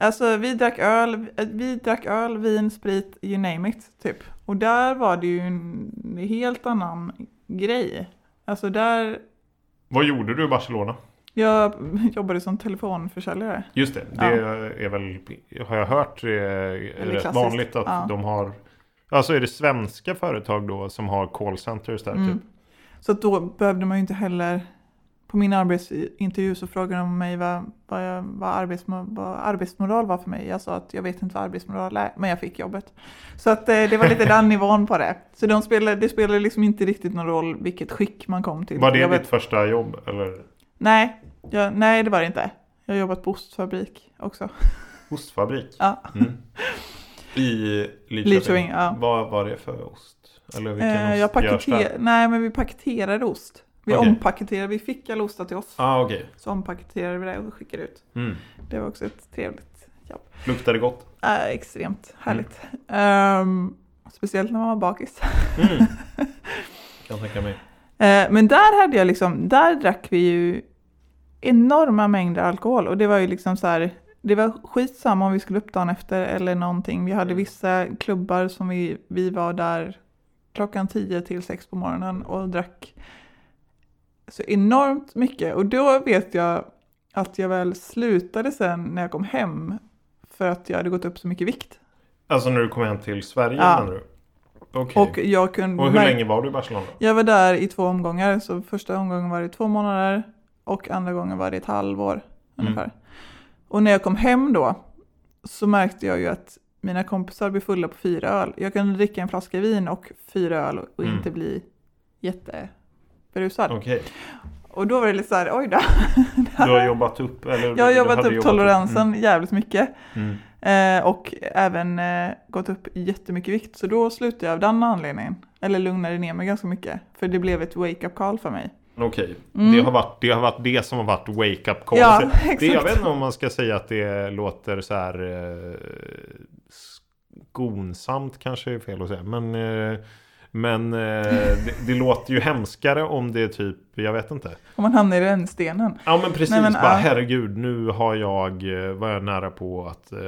Speaker 2: Alltså vi drack öl, eh, vi drack öl, vin, sprit, you name it, typ. Och där var det ju en helt annan grej. Alltså där,
Speaker 1: Vad gjorde du i Barcelona?
Speaker 2: jag jobbade som telefonförsäljare.
Speaker 1: Just det, det är väl, har jag hört, eh, rätt
Speaker 2: klassiskt.
Speaker 1: vanligt att
Speaker 2: Ja.
Speaker 1: de har Alltså är det svenska företag då som har callcenters där
Speaker 2: Mm.
Speaker 1: typ?
Speaker 2: Så att då behövde man ju inte heller... På min arbetsintervju så frågade de mig vad, vad, jag, vad, arbetsmo, vad arbetsmoral var för mig. Jag sa att jag vet inte vad arbetsmoral är, men jag fick jobbet. Så att eh, det var lite den nivån på det. Så de spelade, det spelade liksom inte riktigt någon roll vilket skick man kom till.
Speaker 1: Var det
Speaker 2: jag
Speaker 1: ditt första jobb? Eller
Speaker 2: nej, jag, nej, det var det inte. Jag har jobbat på ostfabrik också.
Speaker 1: ostfabrik?
Speaker 2: Ja.
Speaker 1: Mm. I Lidköping?
Speaker 2: Lidköping, ja.
Speaker 1: Vad var det för ost? Eller vilken
Speaker 2: Eh,
Speaker 1: ost
Speaker 2: jag
Speaker 1: görs där?
Speaker 2: paketer, nej, men vi paketerade ost. Vi
Speaker 1: Okej.
Speaker 2: ompaketerade, vi fick all ostar till oss.
Speaker 1: Ah, okej.
Speaker 2: Så ompaketerade vi det och skickade ut.
Speaker 1: Mm.
Speaker 2: Det var också ett trevligt
Speaker 1: Luktar det gott?
Speaker 2: Äh, extremt härligt. Ehm, speciellt när man var bakis.
Speaker 1: Mm. kan tänka mig.
Speaker 2: Eh, men där hade jag liksom, där drack vi ju enorma mängder alkohol och det var ju liksom så här, det var skitsamma om vi skulle upp dagen efter eller någonting. Vi hade vissa klubbar som vi, vi var där klockan 10 till 6 på morgonen och drack så enormt mycket. Och då vet jag att jag väl slutade sen när jag kom hem för att jag hade gått upp så mycket vikt.
Speaker 1: Alltså när du kom hem till Sverige
Speaker 2: Ja.
Speaker 1: menar du? Okej.
Speaker 2: Och jag kunde...
Speaker 1: Och, hur
Speaker 2: mär-
Speaker 1: länge var du i Barcelona?
Speaker 2: Jag var där i två omgångar, så första omgången var det två månader och andra gången var det ett
Speaker 1: Mm.
Speaker 2: halvår ungefär. Och när jag kom hem då så märkte jag ju att mina kompisar blir fulla på fyra öl. Jag kunde dricka en flaska vin och fyra öl och
Speaker 1: Mm.
Speaker 2: inte bli jätteberusad.
Speaker 1: Okej.
Speaker 2: Och då var det lite så här, oj då.
Speaker 1: Du har jobbat upp? Eller
Speaker 2: Jag har
Speaker 1: du
Speaker 2: jobbat
Speaker 1: hade
Speaker 2: upp toleransen
Speaker 1: Mm.
Speaker 2: jävligt mycket.
Speaker 1: Mm.
Speaker 2: Eh, och även eh, gått upp jättemycket vikt. Så då slutade jag av den anledningen. Eller lugnade ner mig ganska mycket. För det blev ett wake-up call för mig.
Speaker 1: okej.
Speaker 2: Mm.
Speaker 1: Det, har varit, det har varit det som har varit Alltså, wake up call.
Speaker 2: Ja,
Speaker 1: det, jag
Speaker 2: exakt.
Speaker 1: vet inte om man ska säga att det låter så här eh, skonsamt kanske är fel att säga. Men, eh, men eh, det, det låter ju hemskare om det är typ, jag vet inte.
Speaker 2: Om man hamnar i rännstenen.
Speaker 1: Ja men precis,
Speaker 2: Nej, men,
Speaker 1: bara
Speaker 2: ja.
Speaker 1: herregud nu har jag, eh, var jag nära på att eh,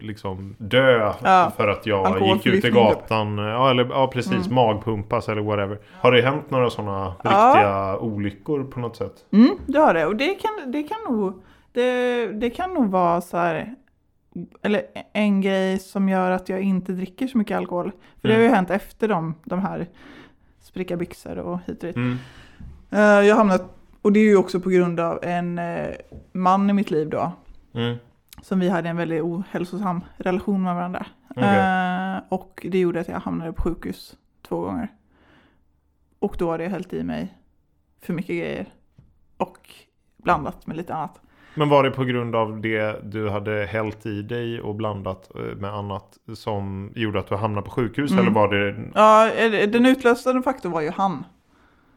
Speaker 1: liksom dö
Speaker 2: Ja.
Speaker 1: för att jag gick ut i
Speaker 2: Alkoholförgiftning, typ. Mm.
Speaker 1: gatan. Ja, eller, ja precis, magpumpas eller whatever. Har det hänt några sådana
Speaker 2: Ja.
Speaker 1: riktiga olyckor på något sätt?
Speaker 2: Mm, det har det. Och det kan, det kan nog, det, det kan nog vara så här, eller en grej som gör att jag inte dricker så mycket alkohol. För det har
Speaker 1: Mm.
Speaker 2: ju hänt efter de, de här spricka byxor och hit och dit.
Speaker 1: Mm.
Speaker 2: Eh, Jag har hamnat, och det är ju också på grund av en eh, man i mitt liv då.
Speaker 1: Mm.
Speaker 2: Som vi hade en väldigt ohälsosam relation med varandra.
Speaker 1: Okej.
Speaker 2: Eh, och det gjorde att jag hamnade på sjukhus två gånger. Och då hade jag hällt i mig för mycket grejer. Och blandat med lite annat.
Speaker 1: Men var det på grund av det du hade hällt i dig och blandat eh, med annat som gjorde att du hamnade på sjukhus?
Speaker 2: Mm.
Speaker 1: Eller var det...
Speaker 2: Ja, eh, den utlösande faktorn var ju han.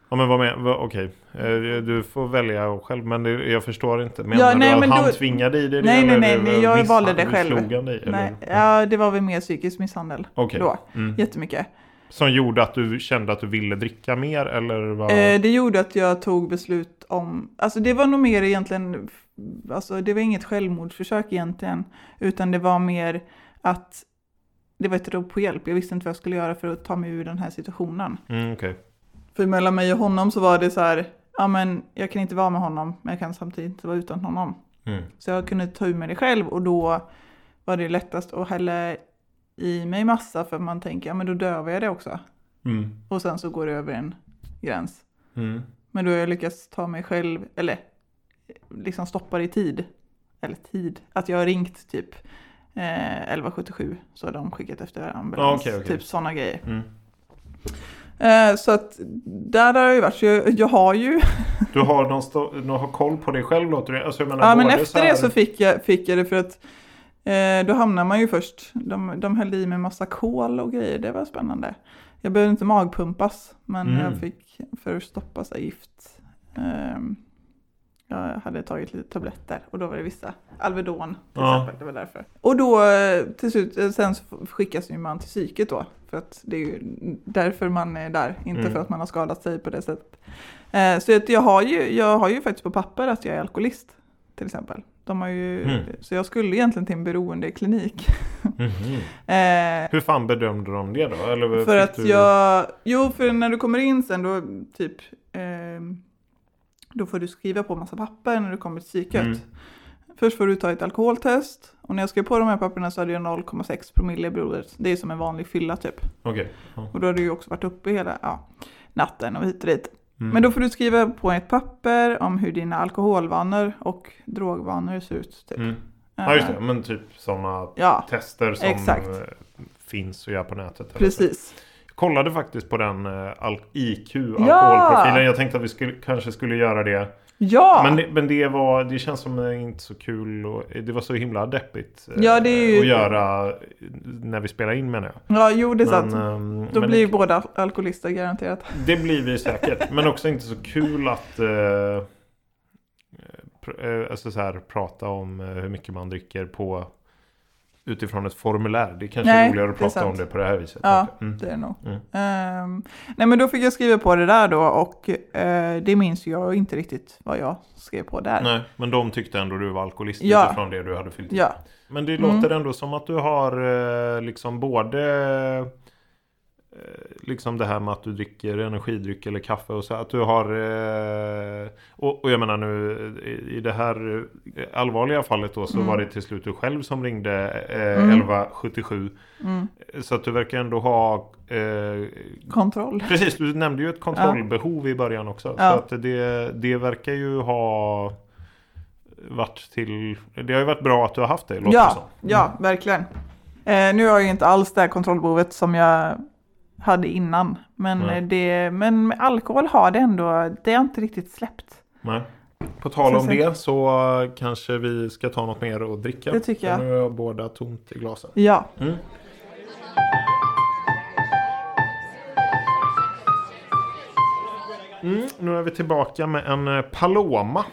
Speaker 1: Ja men vad med? vad- Okej, Eh, du får välja själv. Men det, jag förstår inte. Menar
Speaker 2: Ja, nej,
Speaker 1: du att
Speaker 2: men
Speaker 1: han
Speaker 2: då-
Speaker 1: tvingade i dig det?
Speaker 2: Nej, nej,
Speaker 1: eller
Speaker 2: nej,
Speaker 1: det-
Speaker 2: nej, jag
Speaker 1: misshandel-
Speaker 2: valde det själv.
Speaker 1: Slog han dig?
Speaker 2: Nej,
Speaker 1: eller?
Speaker 2: ja, det var väl mer psykisk misshandel
Speaker 1: Okej.
Speaker 2: då.
Speaker 1: Mm.
Speaker 2: Jättemycket.
Speaker 1: Som gjorde att du kände att du ville dricka mer eller vad?
Speaker 2: Eh, det gjorde att jag tog beslut om, alltså det var nog mer egentligen, alltså det var inget självmordsförsök egentligen, utan det var mer att det var ett rop på hjälp. Jag visste inte vad jag skulle göra för att ta mig ur den här situationen.
Speaker 1: Mm, Okej.
Speaker 2: För mellan mig och honom så var det så här, ja men jag kan inte vara med honom, men jag kan samtidigt inte vara utan honom.
Speaker 1: Mm.
Speaker 2: Så jag kunde ta ur mig det själv och då var det lättast att hälla i mig massa för man tänker, ja men då dövar jag det också.
Speaker 1: Mm.
Speaker 2: Och sen så går det över en gräns.
Speaker 1: Mm.
Speaker 2: Men då har jag lyckats ta mig själv, eller liksom stoppa det i tid. Eller tid, att jag har ringt typ eh, 1177 så har de skickat efter ambulans.
Speaker 1: Ja, okej, okej.
Speaker 2: Typ sådana grejer.
Speaker 1: Mm.
Speaker 2: Eh, så att där har jag ju varit, så jag, jag har ju,
Speaker 1: Du har någon, stå- någon har koll på dig själv låter det. Alltså, jag menar,
Speaker 2: ja men
Speaker 1: både
Speaker 2: efter
Speaker 1: här-
Speaker 2: det så fick jag, fick jag det för att eh, då hamnar man ju först, de, de höll i mig massa kol och grejer, det var spännande. Jag behövde inte magpumpas, men
Speaker 1: Mm.
Speaker 2: jag fick för att stoppa så här gift. ehm, jag hade tagit lite tabletter och då var det vissa, Alvedon till
Speaker 1: Ja.
Speaker 2: exempel, det var därför. Och då eh, till slut, eh, sen så f- skickas ju man till psyket då, för att det är ju därför man är där, inte
Speaker 1: Mm.
Speaker 2: för att man har skadat sig på det sättet. Eh, så att jag, har ju, jag har ju faktiskt på papper att jag är alkoholist till exempel. De har ju,
Speaker 1: Mm.
Speaker 2: Så jag skulle egentligen till en beroendeklinik.
Speaker 1: Mhm.
Speaker 2: Eh,
Speaker 1: Hur fan bedömde de det då? Eller vad
Speaker 2: för
Speaker 1: fick
Speaker 2: att
Speaker 1: du...
Speaker 2: jag, jo för när du kommer in sen då typ, ehm, då får du skriva på massa papper när du kommer till psyket.
Speaker 1: Mm.
Speaker 2: Först får du ta ett alkoholtest och när jag skrev på de här papperna så hade jag 0,6 promille i blodet. Det är som en vanlig fylla typ.
Speaker 1: Okej. Ja.
Speaker 2: Och då hade du ju också varit uppe hela ja, natten och hit och dit.
Speaker 1: Mm.
Speaker 2: Men då får du skriva på ett papper om hur dina alkoholvanor och drogvanor ser ut. Typ.
Speaker 1: Mm. Ja just det,
Speaker 2: Eh,
Speaker 1: men typ sådana
Speaker 2: Ja,
Speaker 1: tester som
Speaker 2: Exakt.
Speaker 1: eh, finns att göra på nätet. eller så.
Speaker 2: precis.
Speaker 1: kollade faktiskt på den eh, al- IQ,
Speaker 2: Ja!
Speaker 1: alkoholprofilen. Jag tänkte att vi skulle, kanske skulle göra det.
Speaker 2: Ja!
Speaker 1: Men, det, men det, var, det känns som eh, inte så kul och det var så himla deppigt eh,
Speaker 2: Ja, det är ju-
Speaker 1: att göra eh, när vi spelar in menar jag.
Speaker 2: Ja, jo det är sant.
Speaker 1: Men, ehm,
Speaker 2: Då
Speaker 1: men
Speaker 2: blir ju
Speaker 1: det,
Speaker 2: båda alkoholister garanterat.
Speaker 1: det blir vi säkert. Men också inte så kul att eh, eh, pr- eh, alltså så här, prata om eh, hur mycket man dricker på utifrån ett formulär. Det kanske
Speaker 2: Nej,
Speaker 1: är roligare att
Speaker 2: det är
Speaker 1: prata om
Speaker 2: sant.
Speaker 1: det på det här viset.
Speaker 2: Ja.
Speaker 1: Mm.
Speaker 2: Det är det nog.
Speaker 1: Mm.
Speaker 2: Ehm, nej men då fick jag skriva på det där då och eh, det minns jag inte riktigt vad jag skrev på där.
Speaker 1: Nej, men de tyckte ändå du var alkoholist
Speaker 2: Ja.
Speaker 1: utifrån det du hade fyllt i.
Speaker 2: Ja,
Speaker 1: Men det
Speaker 2: Mm.
Speaker 1: låter ändå som att du har eh, liksom både eh, liksom det här med att du dricker energidryck eller kaffe och så att du har eh, och, och jag menar nu eh, i det här eh, allvarliga fallet då så
Speaker 2: Mm.
Speaker 1: var det till slut du själv som ringde eh,
Speaker 2: Mm.
Speaker 1: 1177
Speaker 2: mm.
Speaker 1: så att du verkar ändå ha eh,
Speaker 2: kontroll.
Speaker 1: Precis, du nämnde ju ett kontrollbehov i början också.
Speaker 2: Ja.
Speaker 1: Så att det, det verkar ju ha varit till... Det har ju varit bra att du har haft det, låter Mm. det som.
Speaker 2: Ja, ja, verkligen. Eh, nu har jag ju inte alls det här kontrollbehovet som jag hade innan. Men,
Speaker 1: Nej.
Speaker 2: eh, det, men med alkohol har det ändå, det har inte riktigt släppt.
Speaker 1: Nej. På tal om
Speaker 2: Så- så-
Speaker 1: det så kanske vi ska ta något mer att dricka.
Speaker 2: Det tycker
Speaker 1: För
Speaker 2: jag.
Speaker 1: Nu har jag båda tomt i glasen.
Speaker 2: Ja,
Speaker 1: Mm. Mm, nu är vi tillbaka med en eh, Paloma.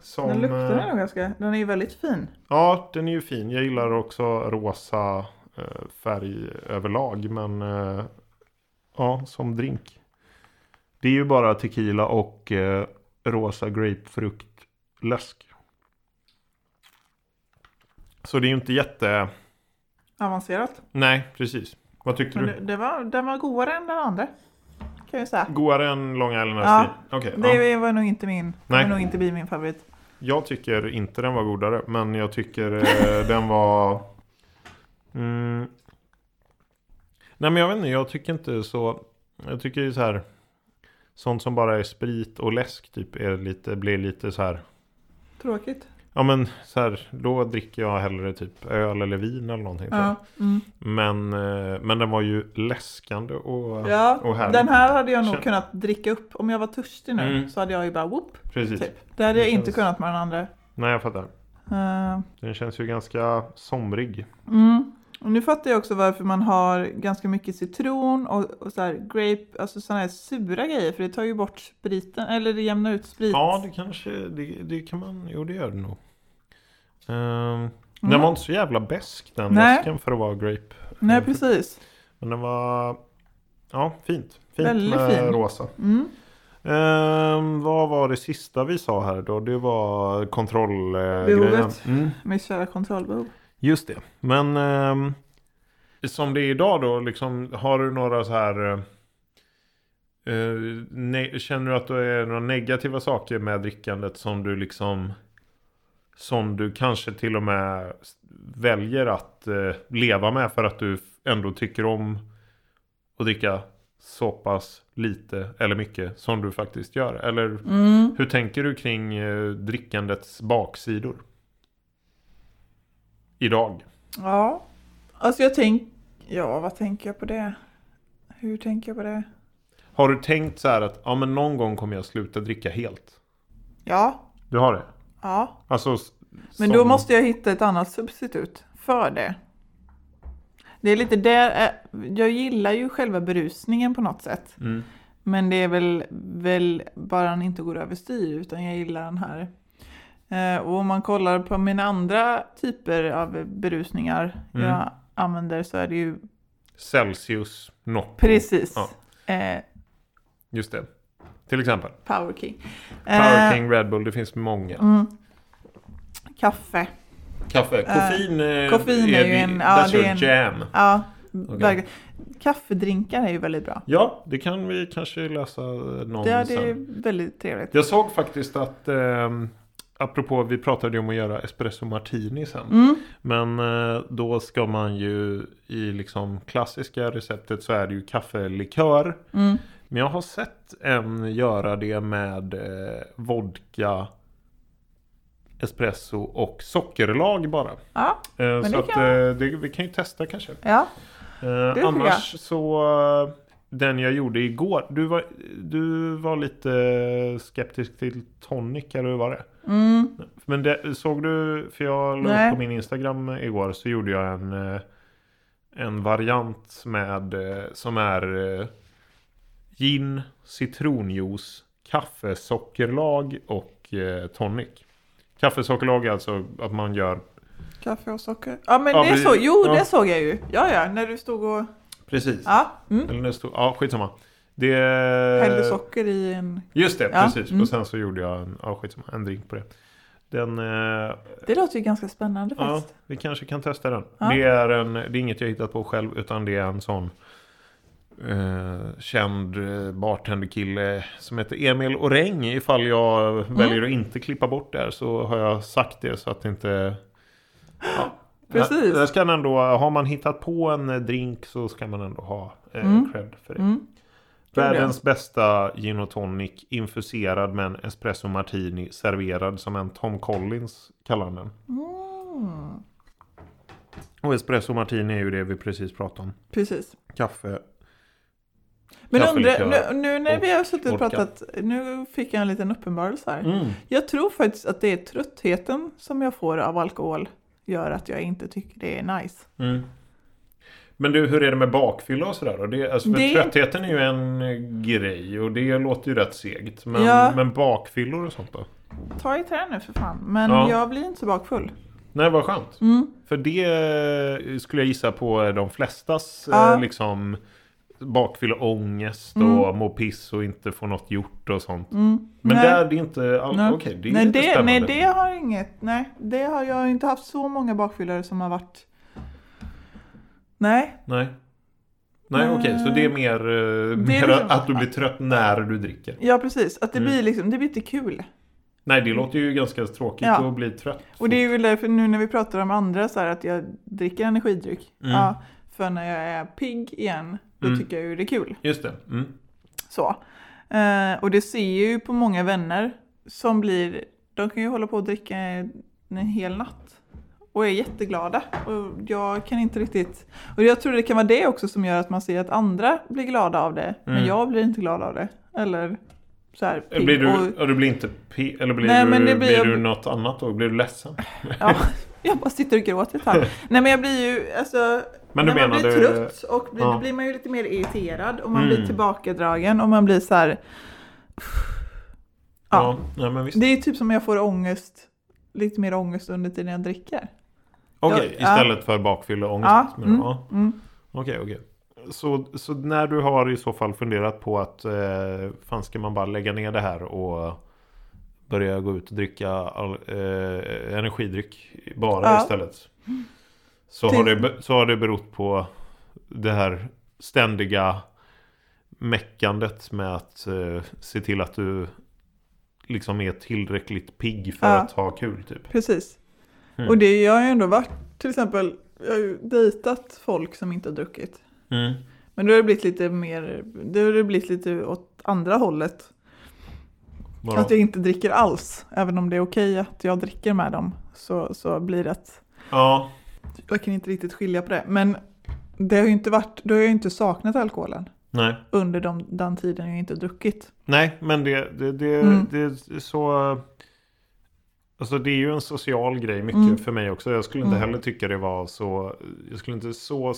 Speaker 1: Som,
Speaker 2: Den luktar
Speaker 1: eh,
Speaker 2: den nog ganska. Den är ju väldigt fin.
Speaker 1: Ja, den är ju fin. Jag gillar också rosa eh, färg överlag. Men eh, ja, som drink. Det är ju bara tequila och eh, rosa grapefruktläsk. Så det är ju inte jätte...
Speaker 2: Avancerat.
Speaker 1: Nej, precis. Vad tyckte
Speaker 2: Men
Speaker 1: du?
Speaker 2: det, det var, den var godare än den andra. Kan jag säga.
Speaker 1: Godare än Long Island Ice
Speaker 2: Ja,
Speaker 1: Tea? Okej, ja.
Speaker 2: Det var nog inte min. Det
Speaker 1: Nej.
Speaker 2: var nog inte bli min favorit.
Speaker 1: Jag tycker inte den var godare, men jag tycker eh, den var... Mm. Nej men jag vet inte, jag tycker inte så... Jag tycker ju så här... Sånt som bara är sprit och läsk typ är lite, blir lite så här...
Speaker 2: Tråkigt.
Speaker 1: Ja men så här, då dricker jag hellre typ öl eller vin eller någonting. så.
Speaker 2: Ja, mm.
Speaker 1: Men, eh, men den var ju läskande och, och
Speaker 2: ja
Speaker 1: härlig.
Speaker 2: den här hade jag nog
Speaker 1: Känn-
Speaker 2: kunnat dricka upp. Om jag var törstig nu
Speaker 1: Mm.
Speaker 2: så hade jag ju bara whoop.
Speaker 1: Precis.
Speaker 2: Typ. Det hade jag
Speaker 1: Det
Speaker 2: inte
Speaker 1: känns-
Speaker 2: kunnat med den andra.
Speaker 1: Nej jag fattar.
Speaker 2: Eh,
Speaker 1: Den känns ju ganska somrig.
Speaker 2: Mm. Och nu fattar jag också varför man har ganska mycket citron och, och så här grape, alltså sådana här sura grejer för det tar ju bort spriten, eller det jämnar ut sprit.
Speaker 1: Ja, det kanske, det, det kan man, jo det gör det nog. Ehm, Den
Speaker 2: Mm.
Speaker 1: var inte så jävla besk den
Speaker 2: Nej.
Speaker 1: läsken för att vara grape.
Speaker 2: Nej, precis.
Speaker 1: Men den var, ja fint. Fint
Speaker 2: Väldigt
Speaker 1: med
Speaker 2: fin.
Speaker 1: rosa.
Speaker 2: Mm.
Speaker 1: Ehm, vad var det sista vi sa här då? Det var kontrollgrejen.
Speaker 2: Behovet.
Speaker 1: Mm,
Speaker 2: Med kära kontrollbehov.
Speaker 1: just det. Men ehm, som det är idag då, liksom, har du några så här... eh, eh, ne- känner du att det är några negativa saker med drickandet som du liksom... Som du kanske till och med s- väljer att eh, leva med för att du f- ändå tycker om att dricka så pass lite eller mycket som du faktiskt gör? Eller
Speaker 2: Mm.
Speaker 1: hur tänker du kring eh, drickandets baksidor? Idag.
Speaker 2: Ja. Alltså jag tänk... ja vad tänker jag på det? Hur tänker jag på det?
Speaker 1: Har du tänkt så här att ja, men någon gång kommer jag sluta dricka helt?
Speaker 2: Ja,
Speaker 1: Du har det?
Speaker 2: ja.
Speaker 1: Alltså, s-
Speaker 2: Men
Speaker 1: som-
Speaker 2: då måste jag hitta ett annat substitut för det. Det är lite där, eh, jag gillar ju själva berusningen på något sätt.
Speaker 1: Mm.
Speaker 2: Men det är väl, väl bara han inte går överstyr utan jag gillar den här. Eh, och om man kollar på mina andra typer av berusningar
Speaker 1: Mm.
Speaker 2: jag använder så är det ju
Speaker 1: Celsius, Noppo.
Speaker 2: precis
Speaker 1: Ja.
Speaker 2: eh,
Speaker 1: Just det. Till exempel.
Speaker 2: Power King.
Speaker 1: Power
Speaker 2: Eh,
Speaker 1: King, Red Bull, det finns många.
Speaker 2: Mm, kaffe.
Speaker 1: Kaffe. Koffein, eh,
Speaker 2: koffein är ju
Speaker 1: det-
Speaker 2: en- ja,
Speaker 1: that's
Speaker 2: det är
Speaker 1: your
Speaker 2: en-
Speaker 1: jam.
Speaker 2: Ja, verkligen. Kaffedrinkar är ju väldigt bra.
Speaker 1: Ja, det kan vi kanske läsa eh, någon
Speaker 2: Det är, det
Speaker 1: sen.
Speaker 2: är väldigt trevligt.
Speaker 1: Jag såg faktiskt att, eh, apropå vi pratade ju om att göra espresso martini sen.
Speaker 2: Mm,
Speaker 1: Men eh, då ska man ju i liksom klassiska receptet så är det ju kaffelikör.
Speaker 2: mm.
Speaker 1: Men jag har sett en göra det med eh, vodka, espresso och sockerlag bara. Eh,
Speaker 2: Ja,
Speaker 1: så
Speaker 2: det
Speaker 1: att
Speaker 2: kan-
Speaker 1: eh, det, vi kan ju testa kanske.
Speaker 2: ja,
Speaker 1: Eh,
Speaker 2: tycker
Speaker 1: annars så eh, den jag gjorde igår. Du var, du var lite eh, skeptisk till tonic eller hur var det?
Speaker 2: mm,
Speaker 1: Men det, såg du, för jag la
Speaker 2: Nej.
Speaker 1: upp på min Instagram igår så gjorde jag en, eh, en variant med eh, som är eh, gin, citronjuice, kaffesockerlag och eh, tonic. Kaffesockerlag är alltså att man gör
Speaker 2: kaffe och socker. Ja, men
Speaker 1: Ja,
Speaker 2: det
Speaker 1: men-
Speaker 2: såg, jo,
Speaker 1: ja.
Speaker 2: det såg jag ju. Ja, ja, när du stod och,
Speaker 1: Precis.
Speaker 2: ja. Mm.
Speaker 1: Eller när det stod, ja skitsamma. Det Eh.
Speaker 2: Hällde socker i en...
Speaker 1: Just det,
Speaker 2: Ja,
Speaker 1: precis.
Speaker 2: mm.
Speaker 1: Och sen så gjorde jag en, ja, skitsamma, en drink på det. Den eh,
Speaker 2: Det låter ju ganska spännande
Speaker 1: Ja,
Speaker 2: faktiskt.
Speaker 1: vi kanske kan testa den.
Speaker 2: Ja.
Speaker 1: Det, är en, det är inget jag hittat på själv utan det är en sån eh, känd eh, bartenderkille som heter Emil Oräng. Ifall jag
Speaker 2: Mm.
Speaker 1: väljer att inte klippa bort det här så har jag sagt det så att inte... Ja.
Speaker 2: Precis.
Speaker 1: Där, där ska man ändå, har man hittat på en eh, drink så ska man ändå ha eh,
Speaker 2: Mm.
Speaker 1: cred för det.
Speaker 2: Mm. Tror
Speaker 1: Världens bästa gin och tonic infuserad med en espresso martini serverad som en Tom Collins kallar den.
Speaker 2: Mm.
Speaker 1: Och espresso martini är ju det vi precis pratade om.
Speaker 2: Precis.
Speaker 1: Kaffe.
Speaker 2: Men
Speaker 1: Kaffelikör
Speaker 2: undra, nu, nu när
Speaker 1: och
Speaker 2: vi har suttit och
Speaker 1: vodka.
Speaker 2: pratat, nu fick jag en liten uppenbarelse
Speaker 1: Mm.
Speaker 2: här. Jag tror faktiskt att det är tröttheten som jag får av alkohol gör att jag inte tycker det är nice.
Speaker 1: Mm. Men du, hur är det med bakfylla och sådär då? Det, alltså, för
Speaker 2: Det-
Speaker 1: Tröttheten är ju en eh, grej och det låter ju rätt segt. Men,
Speaker 2: Ja.
Speaker 1: men bakfyllor och sånt då?
Speaker 2: Ta i trä nu för fan. Men
Speaker 1: Ja.
Speaker 2: jag blir inte så bakfull.
Speaker 1: Nej, vad skönt.
Speaker 2: Mm.
Speaker 1: För det eh, skulle jag gissa på är de flestas eh,
Speaker 2: Ja.
Speaker 1: liksom bakfylla ångest och må piss och inte få något gjort och sånt.
Speaker 2: Mm.
Speaker 1: Men
Speaker 2: Nej.
Speaker 1: där är det inte... all- Okej,
Speaker 2: Nej.
Speaker 1: det är
Speaker 2: nej,
Speaker 1: lite
Speaker 2: det,
Speaker 1: spännande.
Speaker 2: nej, det har inget. Nej, det har jag har inte haft så många bakfyllare som har varit. Nej,
Speaker 1: Nej. Nej,
Speaker 2: Nej.
Speaker 1: okej, så det är mer, eh,
Speaker 2: Det är
Speaker 1: mer
Speaker 2: liksom-
Speaker 1: att du blir trött när du dricker.
Speaker 2: ja precis. Att det
Speaker 1: Mm.
Speaker 2: blir liksom, det blir inte kul.
Speaker 1: Nej, det låter ju ganska tråkigt
Speaker 2: Mm. Ja.
Speaker 1: att bli trött.
Speaker 2: Och det är väl därför nu när vi pratar om andra så här att jag dricker energidryck.
Speaker 1: Mm.
Speaker 2: Ja, för när jag är pigg igen, då
Speaker 1: Mm.
Speaker 2: tycker jag ju det är kul.
Speaker 1: Just det. Mm.
Speaker 2: Så. Eh, och det ser jag ju på många vänner som blir, de kan ju hålla på och dricka en hel natt. Och är jätteglada. Och jag kan inte riktigt... Och jag tror det kan vara det också som gör att man ser att andra blir glada av det. Men
Speaker 1: Mm. Eh,
Speaker 2: jag blir inte glad av det. Eller så här pigg
Speaker 1: Blir
Speaker 2: och...
Speaker 1: du, ja, du blir inte pi- eller blir,
Speaker 2: Nej,
Speaker 1: du,
Speaker 2: men det blir-
Speaker 1: blir du något annat då? Blir du ledsen?
Speaker 2: Ja, jag bara sitter och gråter ett tag. Nej men jag blir ju, alltså,
Speaker 1: Men du
Speaker 2: när
Speaker 1: menar
Speaker 2: man blir
Speaker 1: du-
Speaker 2: trött och blir,
Speaker 1: Ja.
Speaker 2: då blir man ju lite mer irriterad och man
Speaker 1: Mm.
Speaker 2: blir tillbakadragen och man blir så här. Ja.
Speaker 1: Ja, nej, men visst.
Speaker 2: Det är typ som jag får ångest, lite mer ångest under tiden jag dricker.
Speaker 1: Okej,
Speaker 2: Ja.
Speaker 1: istället för bakfylla ångest.
Speaker 2: Ja,
Speaker 1: men,
Speaker 2: mm,
Speaker 1: ja.
Speaker 2: mm.
Speaker 1: Okej, okej. Så, så när du har i så fall funderat på att eh, fan ska man bara lägga ner det här och börja gå ut och dricka all, eh, energidryck bara
Speaker 2: Ja. Typ.
Speaker 1: istället. Så
Speaker 2: Till-
Speaker 1: har, det, be- så har det berott på det här ständiga meckandet med att eh, se till att du liksom är tillräckligt pigg för
Speaker 2: Ja.
Speaker 1: att ha kul typ.
Speaker 2: Precis.
Speaker 1: Mm.
Speaker 2: Och det jag har ju ändå varit, till exempel, jag har ju dejtat folk som inte har druckit.
Speaker 1: Mm.
Speaker 2: Men då har det blivit lite mer, då har det blivit lite åt andra hållet.
Speaker 1: Vadå?
Speaker 2: Att jag inte dricker alls. Även om det är okej att jag dricker med dem så, så blir det att
Speaker 1: Ja,
Speaker 2: jag kan inte riktigt skilja på det. Men det har ju inte varit, då har jag ju inte saknat alkoholen
Speaker 1: nej.
Speaker 2: under de, den tiden jag inte har druckit.
Speaker 1: Nej, men det, det, det,
Speaker 2: Mm.
Speaker 1: det är så... Alltså det är ju en social grej mycket
Speaker 2: Mm.
Speaker 1: för mig också. Jag skulle inte
Speaker 2: Mm.
Speaker 1: heller tycka det var så... Jag skulle inte så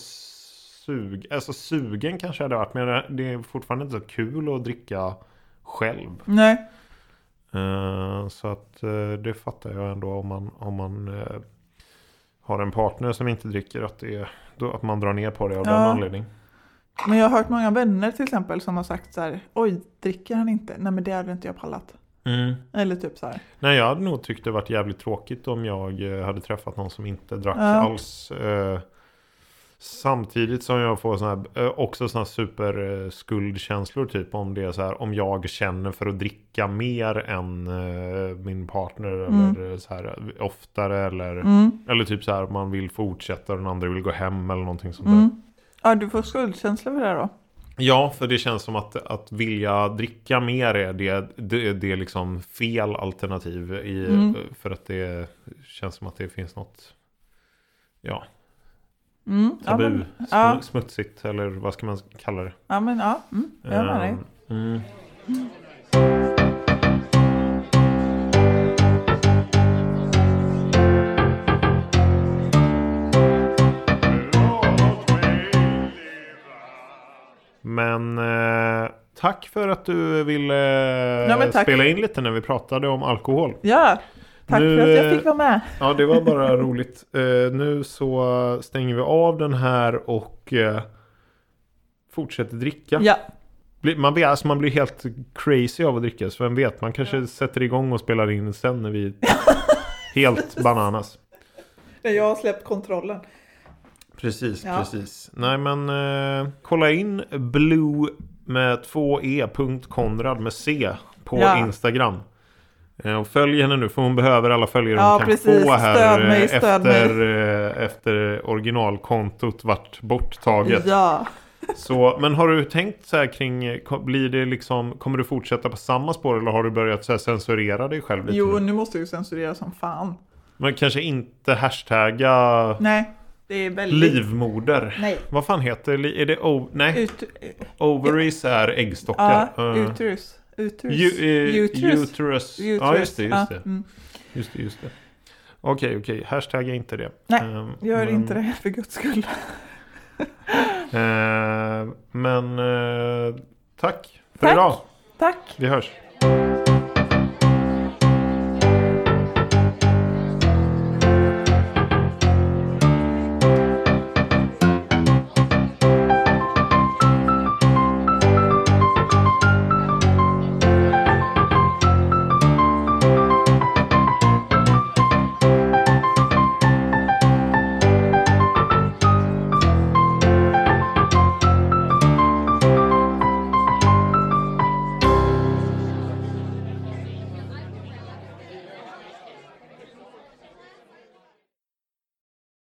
Speaker 1: sug... Alltså sugen kanske hade varit, men det är fortfarande inte så kul att dricka själv.
Speaker 2: Nej,
Speaker 1: Eh, så att eh, det fattar jag ändå om man, om man eh, har en partner som inte dricker. Att, det är, då, att man drar ner på det av den
Speaker 2: Ja.
Speaker 1: anledningen.
Speaker 2: men jag har hört många vänner till exempel som har sagt så här, oj, dricker han inte? Nej men det hade inte jag pallat. Eller typ så här.
Speaker 1: Nej, jag hade nog tyckt det varit jävligt tråkigt om jag eh, hade träffat någon som inte drack
Speaker 2: Ja.
Speaker 1: alls. Eh, Samtidigt som jag får såna här, eh, också såna här superskuldkänslor typ om det är så här om jag känner för att dricka mer än eh, min partner eller eh, så här oftare eller,
Speaker 2: Mm,
Speaker 1: eller typ så här man vill fortsätta och den andra vill gå hem eller någonting sånt där.
Speaker 2: mm. Ja, du får skuldkänsla för det här då.
Speaker 1: Ja, för det känns som att, att vilja dricka mer är det, det, det är liksom fel alternativ. I,
Speaker 2: Mm.
Speaker 1: För att det känns som att det finns något ja,
Speaker 2: Mm, ja,
Speaker 1: tabu,
Speaker 2: men,
Speaker 1: sm-
Speaker 2: ja.
Speaker 1: smutsigt eller vad ska man kalla det?
Speaker 2: ja, men ja. Mm, jag är med dig.
Speaker 1: Ehm, mm. Men eh, tack för att du ville
Speaker 2: Ja, men tack.
Speaker 1: spela in lite när vi pratade om alkohol.
Speaker 2: Ja, tack
Speaker 1: Nu,
Speaker 2: för att jag
Speaker 1: eh,
Speaker 2: fick vara med.
Speaker 1: Ja, det var bara roligt. Eh, nu så stänger vi av den här och eh, fortsätter dricka.
Speaker 2: Ja,
Speaker 1: Blir- Man, blir- alltså man blir helt crazy av att dricka, så vem vet, man kanske sätter igång och spelar in sen när vi helt bananas.
Speaker 2: jag har släppt kontrollen.
Speaker 1: Precis,
Speaker 2: Ja.
Speaker 1: precis. Nej men eh, kolla in blue med 2e.konrad med c på
Speaker 2: Ja.
Speaker 1: Instagram. Eh, Och följ henne nu för hon behöver alla följare
Speaker 2: Ja,
Speaker 1: hon kan
Speaker 2: precis.
Speaker 1: få här
Speaker 2: Stöd mig,
Speaker 1: eh,
Speaker 2: stöd
Speaker 1: efter, eh, efter originalkontot vart borttaget.
Speaker 2: Ja.
Speaker 1: Så, men har du tänkt så här kring, eh, ko- blir det liksom, kommer du fortsätta på samma spår eller har du börjat så här censurera dig själv lite?
Speaker 2: Jo,
Speaker 1: nu?
Speaker 2: nu måste jag ju censurera som fan.
Speaker 1: Men kanske inte hashtagga
Speaker 2: Nej, det är väldigt...
Speaker 1: livmoder.
Speaker 2: Nej.
Speaker 1: Vad fan heter det? Är det o- Nej,
Speaker 2: Ut,
Speaker 1: ovaries är äggstockar.
Speaker 2: ja,
Speaker 1: Eh,
Speaker 2: uterus. Uterus.
Speaker 1: ju- eh,
Speaker 2: uterus.
Speaker 1: uterus.
Speaker 2: Uterus.
Speaker 1: Ja, just det. Just
Speaker 2: Ja,
Speaker 1: det.
Speaker 2: mm.
Speaker 1: Just det, just det. Okej, okej. Hashtagga inte det.
Speaker 2: Nej,
Speaker 1: Eh,
Speaker 2: Gör
Speaker 1: men-
Speaker 2: inte det för guds skull.
Speaker 1: Eh, men eh, tack för
Speaker 2: Tack.
Speaker 1: eh, idag. eh,
Speaker 2: Tack!
Speaker 1: Vi hörs.